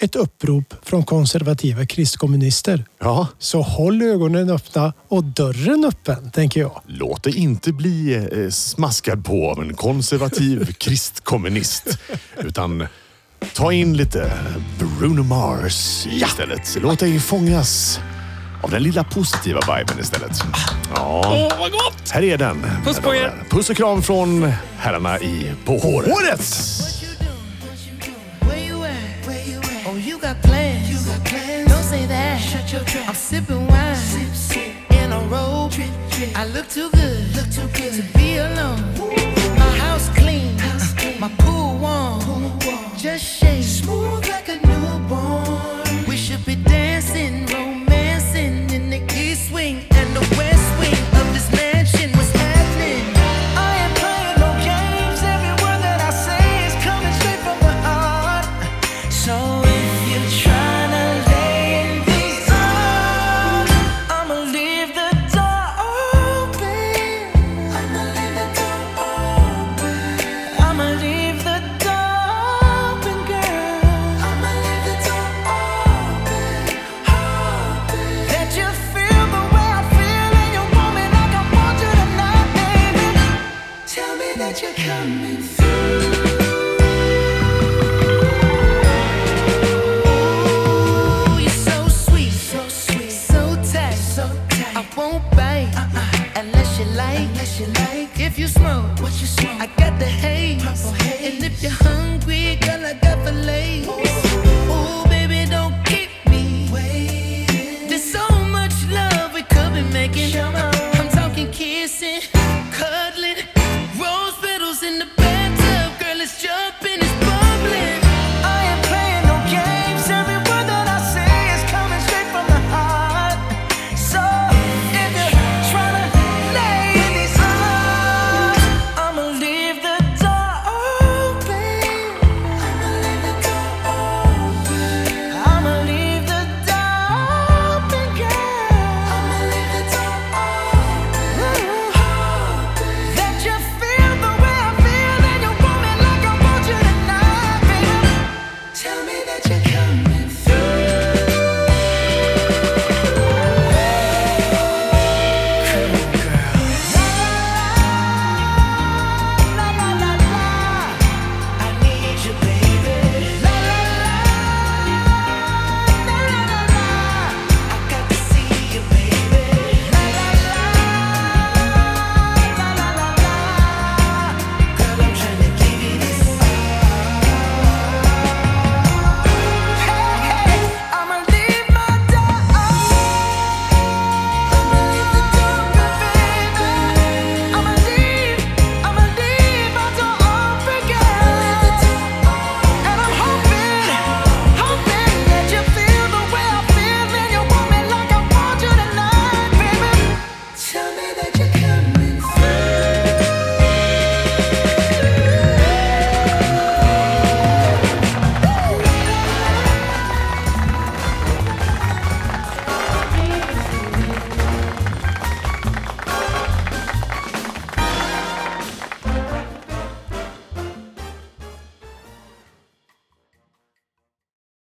Speaker 4: ett upprop från konservativa kristkommunister
Speaker 1: Ja,
Speaker 4: så håll ögonen öppna och dörren öppen, tänker jag.
Speaker 1: låt dig inte bli eh, smaskad på av en
Speaker 3: [LAUGHS]
Speaker 1: konservativ kristkommunist. Utan ta in lite Bruno Mars istället. Låt dig fångas av den lilla positiva viben istället. Ja.
Speaker 3: Åh, vad gott!
Speaker 1: Här är den.
Speaker 3: Puss på er.
Speaker 1: Puss och kram från herrarna i På håret.
Speaker 9: Where you at? Where you at? Oh, you got plans. You got plans. Don't say that. Shut your trap. I'm sipping wine. Sip, sip. In a robe. Trip, trip. I look too good. Look too good to be alone. My house clean. House clean. My pool warm. Pool warm. Just shake. Smooth like a newborn. We should be dancing, romancing in the east wing and the west wing of this mansion. What's happening? I am playing no games. Every word that I say is coming straight from my heart. So if you're trying to lay in these arms, I'ma leave the door open. I'ma leave the door open. I'ma leave the door open, girl. I'ma leave the door open, open. That you feel the way I feel, and you want me like I want you tonight, baby. Tell me that you're coming through. Ooh, you're so sweet, so sweet, so tight, so tight. I won't bite unless you like, Uh-uh. unless you like. If you smoke, what you smoke, I got the haze. And if you're hungry, girl, I got fillets. Ooh, baby, don't keep me waiting. There's so much love we could be making. I'm talking kissing, cuddling, rose petals in the bathtub, girl, it's jumping, it's bubbling. I am playing no games. Every word that I say is coming straight from the heart. So if you're trying to lay in these arms, I'ma leave the door open. I'ma leave the door open. I'ma leave the door open, girl. I'ma leave the door open. That you feel the way I feel, and you want me like I want you tonight, baby. Tell me that you're coming.